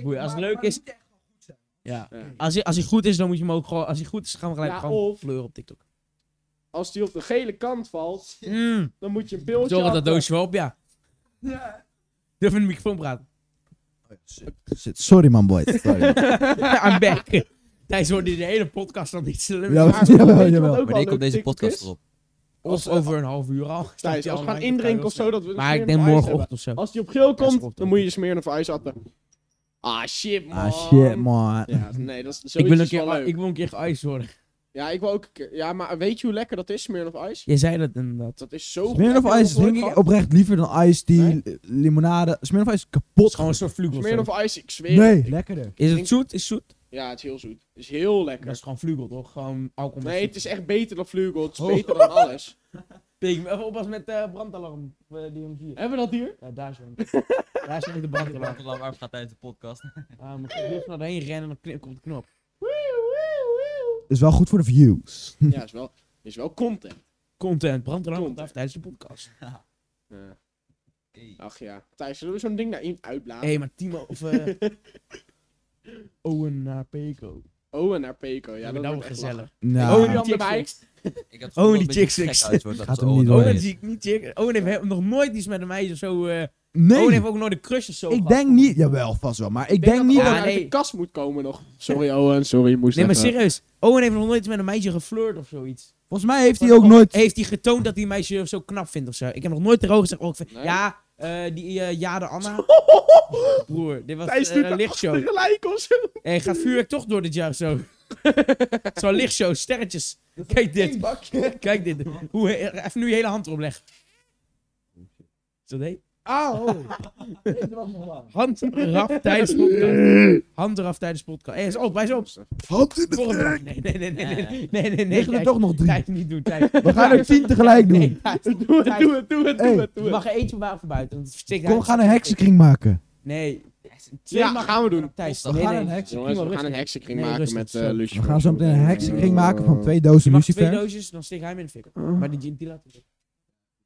Speaker 1: Boeien, als het leuk is... Ja.
Speaker 2: Ja.
Speaker 1: Als hij, als hij goed is, dan moet je hem ook gewoon. Als hij goed is, gaan we gelijk
Speaker 2: Ja,
Speaker 1: gewoon
Speaker 2: of-
Speaker 1: fleuren op TikTok.
Speaker 2: Als die op de gele kant valt,
Speaker 1: Mm.
Speaker 2: dan moet je een pilsje
Speaker 1: Zorg dat
Speaker 2: achter-
Speaker 1: doosje wel op, ja. Durf in de microfoon praten.
Speaker 3: Shit, Sorry man, boy. Sorry.
Speaker 1: I'm back. Thijs hoorde de hele podcast dan niet. zullen we-
Speaker 3: Ja,
Speaker 2: Maar weet
Speaker 3: jawel,
Speaker 2: je wat
Speaker 3: jawel.
Speaker 2: ook wel
Speaker 4: Wanneer
Speaker 2: leuk
Speaker 4: komt deze
Speaker 2: TikTok
Speaker 4: podcast
Speaker 2: is?
Speaker 4: erop?
Speaker 1: Of over een half uur al. Staat
Speaker 2: Thijs,
Speaker 1: hij
Speaker 2: als we
Speaker 1: online,
Speaker 2: gaan
Speaker 1: dat kan
Speaker 2: indrinken
Speaker 1: heel
Speaker 2: of zo,
Speaker 1: snel.
Speaker 2: dat we een
Speaker 1: Maar ik
Speaker 2: smeer
Speaker 1: denk
Speaker 2: nog ijs
Speaker 1: morgenochtend of zo.
Speaker 2: hebben. Als die op geel
Speaker 1: is
Speaker 2: komt,
Speaker 1: goed.
Speaker 2: dan moet je je smeren of ijs atten. Ah, shit, man.
Speaker 3: Ah shit man.
Speaker 2: Ja, nee, dat is
Speaker 1: Ik
Speaker 2: zoiets
Speaker 1: wil, een
Speaker 2: is wel
Speaker 1: keer,
Speaker 2: leuk.
Speaker 1: ik wil een keer geïced worden.
Speaker 2: Ja, ik wil ook een keer. Ja, maar weet je hoe lekker dat is, smeren of ijs?
Speaker 1: Jij zei dat inderdaad.
Speaker 2: Dat is zo
Speaker 3: Smirnoff
Speaker 2: Heb je
Speaker 3: Ice
Speaker 2: dat nog nooit
Speaker 3: drink ik
Speaker 2: gehad?
Speaker 3: oprecht liever dan Ice Tea,
Speaker 2: Nee?
Speaker 3: li- limonade. Smirnoff Ice is
Speaker 1: Het is
Speaker 3: kapot.
Speaker 1: gewoon een soort vlugel. of zo.
Speaker 2: Smirnoff Ice, ik zweer
Speaker 3: Nee,
Speaker 2: het. Ik-
Speaker 3: lekkerder.
Speaker 1: Is het zoet? Is het zoet?
Speaker 2: Ja, het is heel zoet. Het is heel lekker.
Speaker 1: Dat is gewoon vlugel toch? Gewoon alcohol. met
Speaker 2: Nee,
Speaker 1: zoet.
Speaker 2: het is echt beter dan Vlugel. Het is
Speaker 3: Oh.
Speaker 2: beter dan alles.
Speaker 1: Tegen me. Even oppassen met eh, brandalarm. eh, die hem hier.
Speaker 2: Hebben we dat hier?
Speaker 1: Ja, daar is hem. daar is hem de brandalarm.
Speaker 4: Lang arm gaat tijdens de podcast.
Speaker 1: Ah, moet je heel snel daarheen rennen en dan knip- komt de knop.
Speaker 3: Is wel goed voor de views.
Speaker 2: Ja, is wel, is wel content.
Speaker 1: Content, brandalarm
Speaker 2: Content.
Speaker 1: af tijdens de podcast.
Speaker 2: Ja. Ach ja. Thijs, zullen we zo'n ding daarin uitblazen?
Speaker 1: Hé, hey, maar Timo of eh, Owen naar Peko.
Speaker 2: Owen Oh, naar Peko. Ja,
Speaker 1: maar
Speaker 2: dat
Speaker 1: nou
Speaker 2: wordt echt lachen.
Speaker 1: gezellig.
Speaker 3: Nou,
Speaker 2: Owen
Speaker 1: Chicks,
Speaker 2: dan erbij.
Speaker 4: Ik had
Speaker 1: Oh,
Speaker 4: oh,
Speaker 1: die
Speaker 4: die
Speaker 1: chick
Speaker 4: chicks.
Speaker 1: six.
Speaker 3: Gaat hem niet door.
Speaker 1: Owen zie ik niet chick. Owen heeft he- nog nooit iets met een meisje of zo. eh Owen
Speaker 3: nee,
Speaker 1: heeft ook nooit een crush of zo.
Speaker 3: ik
Speaker 1: gehad.
Speaker 3: denk niet... Jawel, vast wel. Maar ik denk
Speaker 2: dat
Speaker 3: niet
Speaker 2: Owen
Speaker 1: Ja,
Speaker 3: dat...
Speaker 2: uit de
Speaker 1: nee.
Speaker 2: kast moet komen nog. Sorry Owen, sorry, je moest
Speaker 1: Nee, maar
Speaker 2: even-
Speaker 1: serieus. Owen heeft nog nooit iets met een meisje geflirt of zoiets.
Speaker 3: Volgens mij heeft hij ook nooit...
Speaker 1: Heeft hij getoond dat hij een meisje zo knap vindt of zo? Ik heb nog nooit erover gezegd. Oh, ik vind,
Speaker 2: Nee.
Speaker 1: Ja, eh, die eh, Jade Anna. Broer, dit was
Speaker 2: Thijs
Speaker 1: eh,
Speaker 2: doet
Speaker 1: een lichtshow.
Speaker 2: tegelijk of zo.
Speaker 1: Hé, gaat vuurwerk toch door dit jaar zo? Zo'n lichtshow, sterretjes. Kijk dit. Kijk dit. Hoe, he- even nu je hele hand erop leggen. Is dat heet? Oh! hand eraf tijdens podcast. Hand eraf tijdens podcast. Hé, is op, hij is op.
Speaker 3: Hand in
Speaker 1: Volgende. Nee, nee, nee, nee, nee, nee, nee, nee.
Speaker 3: Liggen er
Speaker 1: Thijs.
Speaker 3: toch nog drie?
Speaker 1: Thijs, niet doen, Thijs.
Speaker 3: We gaan er tien tegelijk
Speaker 1: Nee,
Speaker 3: doen.
Speaker 1: Thijs.
Speaker 2: Doe het, doe het, doe het, doe
Speaker 3: Hey.
Speaker 2: het, doe
Speaker 1: Je
Speaker 2: het.
Speaker 1: mag er eentje maar van buiten. want het verstikt
Speaker 3: Kom, we
Speaker 1: hij.
Speaker 3: gaan een heksenkring maken.
Speaker 1: Nee. Twee
Speaker 2: Ja,
Speaker 1: mag-
Speaker 2: gaan we doen.
Speaker 1: Thijs,
Speaker 4: We
Speaker 1: nee,
Speaker 3: gaan
Speaker 1: nee.
Speaker 3: een heksen-
Speaker 2: Jongens, we
Speaker 1: Prima,
Speaker 2: gaan een
Speaker 1: rustig.
Speaker 3: eh,
Speaker 2: heksenkring
Speaker 1: Nee,
Speaker 2: maken
Speaker 1: rustig,
Speaker 2: met
Speaker 1: zo.
Speaker 2: eh
Speaker 3: We
Speaker 2: Lucifer. Oh.
Speaker 3: gaan zo meteen een heksenkring maken van twee dozen
Speaker 1: Je mag twee
Speaker 3: lucifer.
Speaker 1: doosjes, dan steek hij hem in de fik. Maar die, die laat hem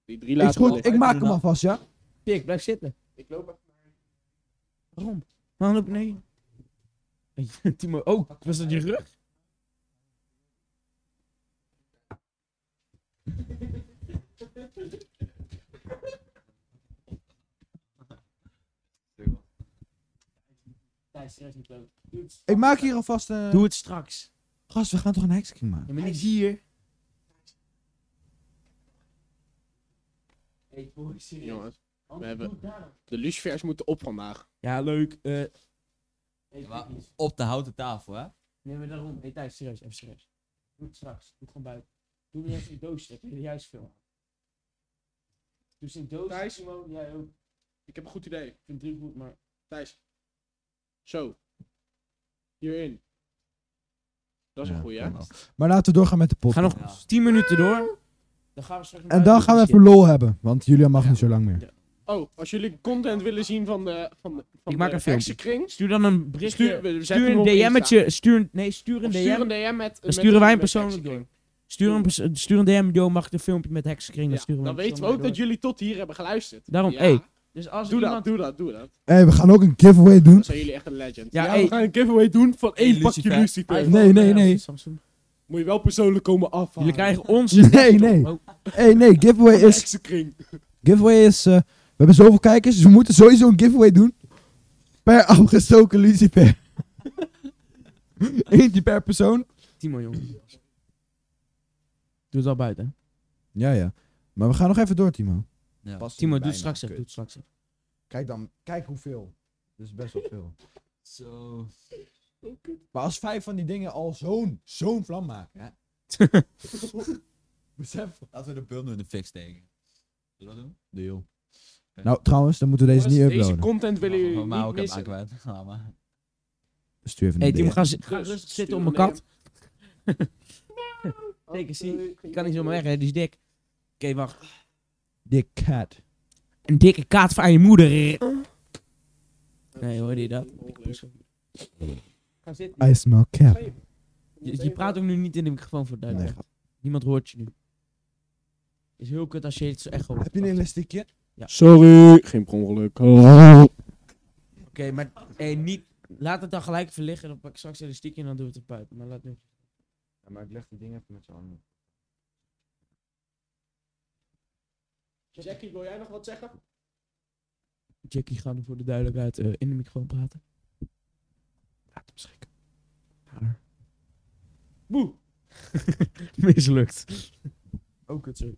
Speaker 2: Die drie
Speaker 3: Is
Speaker 2: laten we
Speaker 3: goed,
Speaker 2: liggen.
Speaker 3: ik maak hem alvast, ja?
Speaker 1: Pik, blijf zitten.
Speaker 2: Ik loop even.
Speaker 1: Waarom? Man op nee. Timo, oh, was dat je rug?
Speaker 3: Ik maak hier alvast een...
Speaker 1: Doe het straks.
Speaker 3: Gast, we gaan toch een heksenkring maken?
Speaker 1: Ja, maar niet hier.
Speaker 2: Jongens, we hebben... De lucifers moeten op vandaag.
Speaker 1: Ja, leuk. eh
Speaker 4: maar- Op de houten tafel, hè?
Speaker 1: Nee, maar daarom. Hey, Thijs, serieus, even serieus. Doe het straks. Doe het gewoon buiten. Doe het even in doosje. Heb je er juist veel aan. Doe ze in doos.
Speaker 2: Thijs?
Speaker 1: Timo, jij ook.
Speaker 2: Ik heb een goed idee.
Speaker 1: Ik vind drie goed, maar...
Speaker 2: Thijs. Zo. Hierin. Dat is een
Speaker 3: Ja,
Speaker 2: goeie, hè?
Speaker 3: kan wel. Maar laten we doorgaan met de pot.
Speaker 1: Ga nog
Speaker 4: Ja.
Speaker 1: 10 minuten door. Dan gaan we straks
Speaker 3: En dan gaan we even lol hebben, want Julia mag niet zo lang meer.
Speaker 2: Oh, als jullie content willen zien van de, van de, van
Speaker 1: Ik maak
Speaker 2: de
Speaker 1: een filmpje.
Speaker 2: heksenkring,
Speaker 1: Stuur dan een berichtje.
Speaker 2: stuur,
Speaker 1: Stuur,
Speaker 2: we zetten hem
Speaker 1: een
Speaker 2: op Insta.
Speaker 1: DM'tje. Stuur een, nee, stuur een
Speaker 2: Of stuur
Speaker 1: DM.
Speaker 2: een DM met...
Speaker 1: Dan sturen wij hem persoonlijk
Speaker 2: persoonlijk
Speaker 1: door. Stuur een, pers- stuur een DM, yo, mag ik een filmpje met heksenkring?
Speaker 2: Ja,
Speaker 1: dan sturen we
Speaker 2: dan
Speaker 1: hem
Speaker 2: weten we ook
Speaker 1: persoonlijk
Speaker 2: dat jullie tot hier hebben geluisterd.
Speaker 1: Daarom,
Speaker 2: ja.
Speaker 1: hey. door. Dus als
Speaker 2: Doe
Speaker 1: iemand...
Speaker 2: dat, doe dat, doe dat.
Speaker 3: Hé, we gaan ook een giveaway doen.
Speaker 2: Dan zijn jullie echt een legend.
Speaker 1: Hm? Ja,
Speaker 2: Ja,
Speaker 1: hey.
Speaker 2: we gaan een giveaway doen van
Speaker 4: Hey,
Speaker 2: één pakje
Speaker 4: Lucifer.
Speaker 2: Lucifer.
Speaker 3: Nee, nee, nee.
Speaker 1: Samsung.
Speaker 2: Moet je wel persoonlijk komen afhalen.
Speaker 1: Jullie krijgen ons...
Speaker 3: Nee, nee.
Speaker 1: Oh,
Speaker 3: Hé, nee, giveaway
Speaker 2: Van de
Speaker 3: is...
Speaker 2: heksenkring.
Speaker 3: Giveaway is... eh, we hebben zoveel kijkers, dus we moeten sowieso een giveaway doen. Per afgestoken lucifer. Eentje per persoon.
Speaker 1: Timo, jongen. Doe het al buiten. hè.
Speaker 3: Ja, ja. Maar we gaan nog even door, Timo.
Speaker 4: Ja.
Speaker 1: Timo, doe het straks even. Doe het straks even.
Speaker 3: Kijk dan, kijk hoeveel. Dat is best wel veel.
Speaker 4: Zo.
Speaker 3: Maar als vijf van die dingen al zo'n, zo'n vlam maken, hè. Besef.
Speaker 4: Laten we de bundel in de fik steken. Zullen we dat doen? Deal.
Speaker 3: Nou, trouwens, dan moeten we deze niet
Speaker 2: Jongens, deze
Speaker 3: uploaden.
Speaker 2: content willen jullie
Speaker 4: Maar
Speaker 2: niet
Speaker 4: ook heb ik
Speaker 2: missen.
Speaker 4: kwijt. Ja, maar.
Speaker 3: Stuur even
Speaker 1: hey,
Speaker 3: een
Speaker 1: Timo,
Speaker 3: DM.
Speaker 1: ga, zi- ga
Speaker 2: Dus,
Speaker 1: rustig
Speaker 2: stuur
Speaker 1: zitten op
Speaker 2: een
Speaker 1: mijn kat.
Speaker 2: DM.
Speaker 1: Zeker, zie. Ik kan niet zomaar weg, hè. Die is dik. Oké, wacht.
Speaker 3: Dick cat.
Speaker 1: Een dikke kaart van je moeder. Nee, hoorde je dat? Ga zitten.
Speaker 3: I smell cap.
Speaker 1: Ah, Je, je praat ook nu niet in de microfoon voor duidelijk. Niemand hoort je nu. Is heel kut als je het zo echt hoort.
Speaker 3: Heb je een elastiekje?
Speaker 2: Sorry, geen per
Speaker 1: Oh,
Speaker 2: ongeluk. Oh,
Speaker 1: Oké, maar hey, niet, laat het dan gelijk even liggen. Dan pak ik straks elastiek en dan doen we het eruit. Maar laat nu.
Speaker 5: Ja, maar ik leg die dingen even met z'n handen.
Speaker 2: Jackie, wil jij nog wat zeggen?
Speaker 1: Jackie gaat nu voor de duidelijkheid eh, in de microfoon praten. Laat hem schrikken. Haar.
Speaker 2: Boe.
Speaker 1: Mislukt. Ook het zo.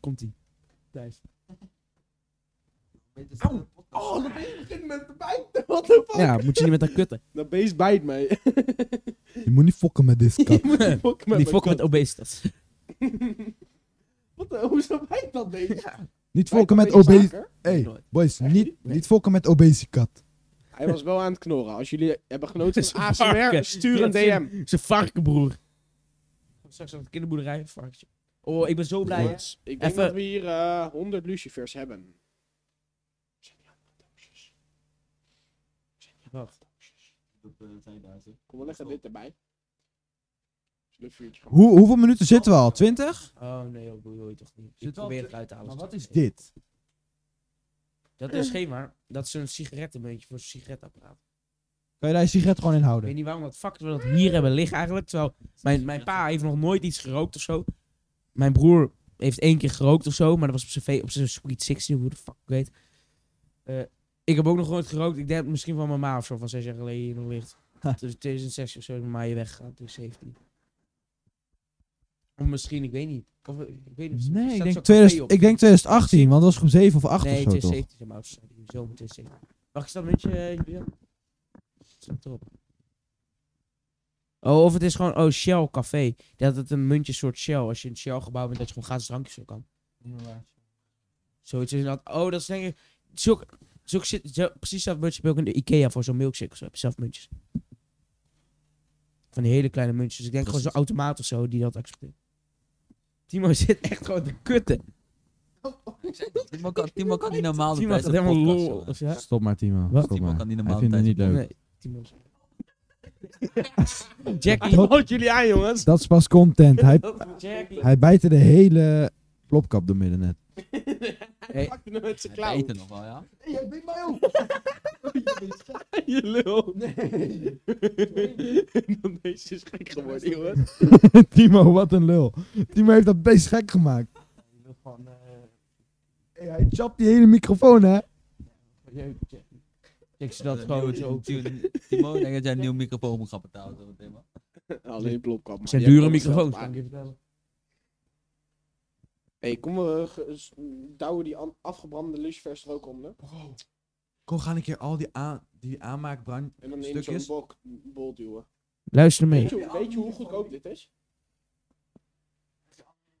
Speaker 1: Komt ie. Thijs.
Speaker 2: Oh, de beest begint met te bijten. Wat de fuck?
Speaker 1: Ja, Ah, moet je niet met haar kutten.
Speaker 2: De beest bijt mij.
Speaker 3: Je moet niet fokken met dit kat.
Speaker 2: Moet die fokken met
Speaker 1: Die
Speaker 2: mijn
Speaker 1: fokken
Speaker 2: kat.
Speaker 1: met obesitas.
Speaker 2: Wat de, hoezo bijt dat beest?
Speaker 3: niet
Speaker 2: Bijt dat
Speaker 3: fokken met
Speaker 2: beest
Speaker 3: obese...
Speaker 2: vaker?
Speaker 3: Hey,
Speaker 1: Nooit.
Speaker 3: boys,
Speaker 2: Echt
Speaker 3: niet, niet fokken met obese kat.
Speaker 2: Hij was wel aan het knorren. Als jullie hebben genoten
Speaker 1: Zo'n
Speaker 2: van ASMR,
Speaker 1: varken.
Speaker 2: stuur een
Speaker 1: Ja,
Speaker 2: DM.
Speaker 1: Zijn varkenbroer. Gaan we Straks op de kinderboerderij, een varkentje. Oh, ik ben zo blij. hè.
Speaker 2: Jongens, Ik denk
Speaker 1: Even-
Speaker 2: dat we hier eh 100 lucifers hebben. Zijn die andere doosjes? Zijn die andere
Speaker 1: Wacht.
Speaker 5: eh,
Speaker 2: doosjes? Kom, we leggen dit erbij. Zullen we een vuurtje gaan
Speaker 3: Hoe, hoeveel minuten zitten we al? 20?
Speaker 1: Oh nee, joh, dat wil je toch niet. Ik
Speaker 4: Zit wel
Speaker 1: probeer
Speaker 4: te-
Speaker 1: het uit te halen.
Speaker 3: Maar
Speaker 1: schat.
Speaker 3: wat is dit?
Speaker 1: Dat is geen maar. Dat is een sigarettenmuntje voor een sigaretapparaat.
Speaker 3: Kan je daar je sigaret gewoon in
Speaker 1: Ik
Speaker 3: houden?
Speaker 1: weet niet waarom dat fuck we dat hier hebben liggen eigenlijk. Terwijl mijn, mijn pa heeft nog nooit iets gerookt of zo. Mijn broer heeft één keer gerookt of zo. Maar dat was op zijn, fe- op zijn Sweet 16, hoe de fuck ik weet. Eh, ik heb ook nog nooit gerookt. Ik denk dat misschien van mijn ma of zo van zes jaar geleden hier nog ligt.
Speaker 3: Ha.
Speaker 1: Dus 2006 of zo is mijn ma hier weggegaan. Toen 17. Of misschien, ik weet niet. Of, eh, ik weet niet.
Speaker 3: Nee,
Speaker 1: Staat
Speaker 3: ik denk,
Speaker 1: zo'n
Speaker 3: 2000
Speaker 1: café op?
Speaker 3: ik denk 2018, want dat was groep 7 of 8
Speaker 1: nee,
Speaker 3: of zo toch?
Speaker 1: 2017 zijn mijn ouders. zijn hier, Zomer 2017. Mag ik dat muntje, eh, Julian? Staat erop. Oh, of het is gewoon, oh, Shell Café. Dat het een muntje soort Shell. Als je in een Shell gebouw bent, dat je gewoon gratis drankjes zo kan. Zoiets is dat. Oh, dat is denk ik. Zulke, zulke shit, zo, precies dat muntje heb je ook in de Ikea voor zo'n milkshake of zo. Heb je zelf muntjes. Van die hele kleine muntjes. Dus ik denk
Speaker 4: Dat
Speaker 1: gewoon
Speaker 4: is
Speaker 1: zo'n automaat of zo die dat accepteert. Timo zit echt gewoon te kutten.
Speaker 4: Timo kan, Timo kan niet normaal doen
Speaker 1: Timo gaat
Speaker 4: tijdens de
Speaker 1: helemaal
Speaker 4: podcast,
Speaker 1: lol.
Speaker 4: jongen.
Speaker 1: of zo.
Speaker 3: Stop maar, Timo.
Speaker 1: Wat?
Speaker 3: Stop
Speaker 4: Timo
Speaker 3: maar.
Speaker 4: kan niet
Speaker 3: Hij
Speaker 4: normaal
Speaker 3: vindt het niet
Speaker 4: tijdens-
Speaker 3: leuk.
Speaker 1: Nee, Timo is- Jackie.
Speaker 2: doen? Wat jullie aan, jongens?
Speaker 3: Dat is pas content. Hij,
Speaker 1: Jackie.
Speaker 3: hij bijt er de hele plopkap door midden net.
Speaker 2: Pakte hem met zijn
Speaker 4: Hij
Speaker 2: klauw.
Speaker 4: eet het nog wel, ja.
Speaker 5: jij bent mij ook!
Speaker 2: Je lul.
Speaker 5: Nee!
Speaker 2: Dan Deze is gek geworden, jongens.
Speaker 3: Timo, wat een lul. Timo heeft dat beest gek gemaakt.
Speaker 1: eh,
Speaker 3: Hey, hij chapt die hele microfoon, hè?
Speaker 1: Ik zie dat
Speaker 4: Een
Speaker 1: gewoon
Speaker 4: nieuwe-
Speaker 1: zo.
Speaker 4: Eh, Timo- Timo, ik denk dat jij een nieuw microfoon moet gaan betalen. zo meteen, man.
Speaker 2: Alleen plopkap. man.
Speaker 1: zijn
Speaker 2: Die heb
Speaker 1: dure
Speaker 2: ik zelf
Speaker 1: microfoons,
Speaker 2: gemaakt.
Speaker 1: kan ik je vertellen.
Speaker 2: hey, kom we ge- s- douwen die an- afgebrande lucifers er ook onder.
Speaker 5: Kom, gaan een keer al die, aan, die aanmaakbrand...
Speaker 2: En dan in zo'n
Speaker 5: Stukjes?
Speaker 2: bok, bol duwen.
Speaker 1: Luister mee.
Speaker 2: Weet je, weet je hoe goedkoop dit is?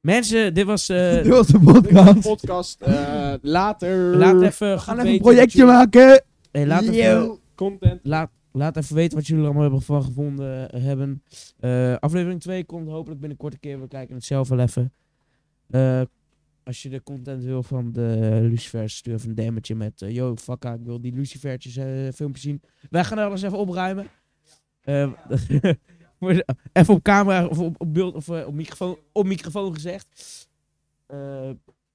Speaker 1: Mensen, dit was... eh,
Speaker 3: Dit was de
Speaker 2: Een
Speaker 3: podcast.
Speaker 2: podcast. eh, later.
Speaker 1: laat even
Speaker 3: We
Speaker 1: goed
Speaker 3: gaan even een
Speaker 1: weten
Speaker 3: projectje
Speaker 1: wat
Speaker 3: maken.
Speaker 1: jullie- Hey, laat, even,
Speaker 3: Yo.
Speaker 2: Content.
Speaker 1: eh, laat, laat even weten wat jullie er allemaal hebben van gevonden eh, hebben. Eh, aflevering 2 komt hopelijk binnenkort een keer. We kijken het zelf wel even. Eh, als je de content wil van de Lucifers, stuur even een DM'tje met... eh, yo, fucka, ik wil die Lucifertjes eh filmpje zien. Wij gaan alles even opruimen. Eh, voor de- even op camera of op, op beeld of eh, op, microfoon, op microfoon gezegd. Eh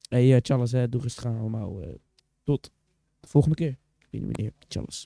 Speaker 1: hey, eh, Charles, eh, doe rustig aan allemaal. eh, tot de volgende keer. Ik weet niet wanneer. Charles.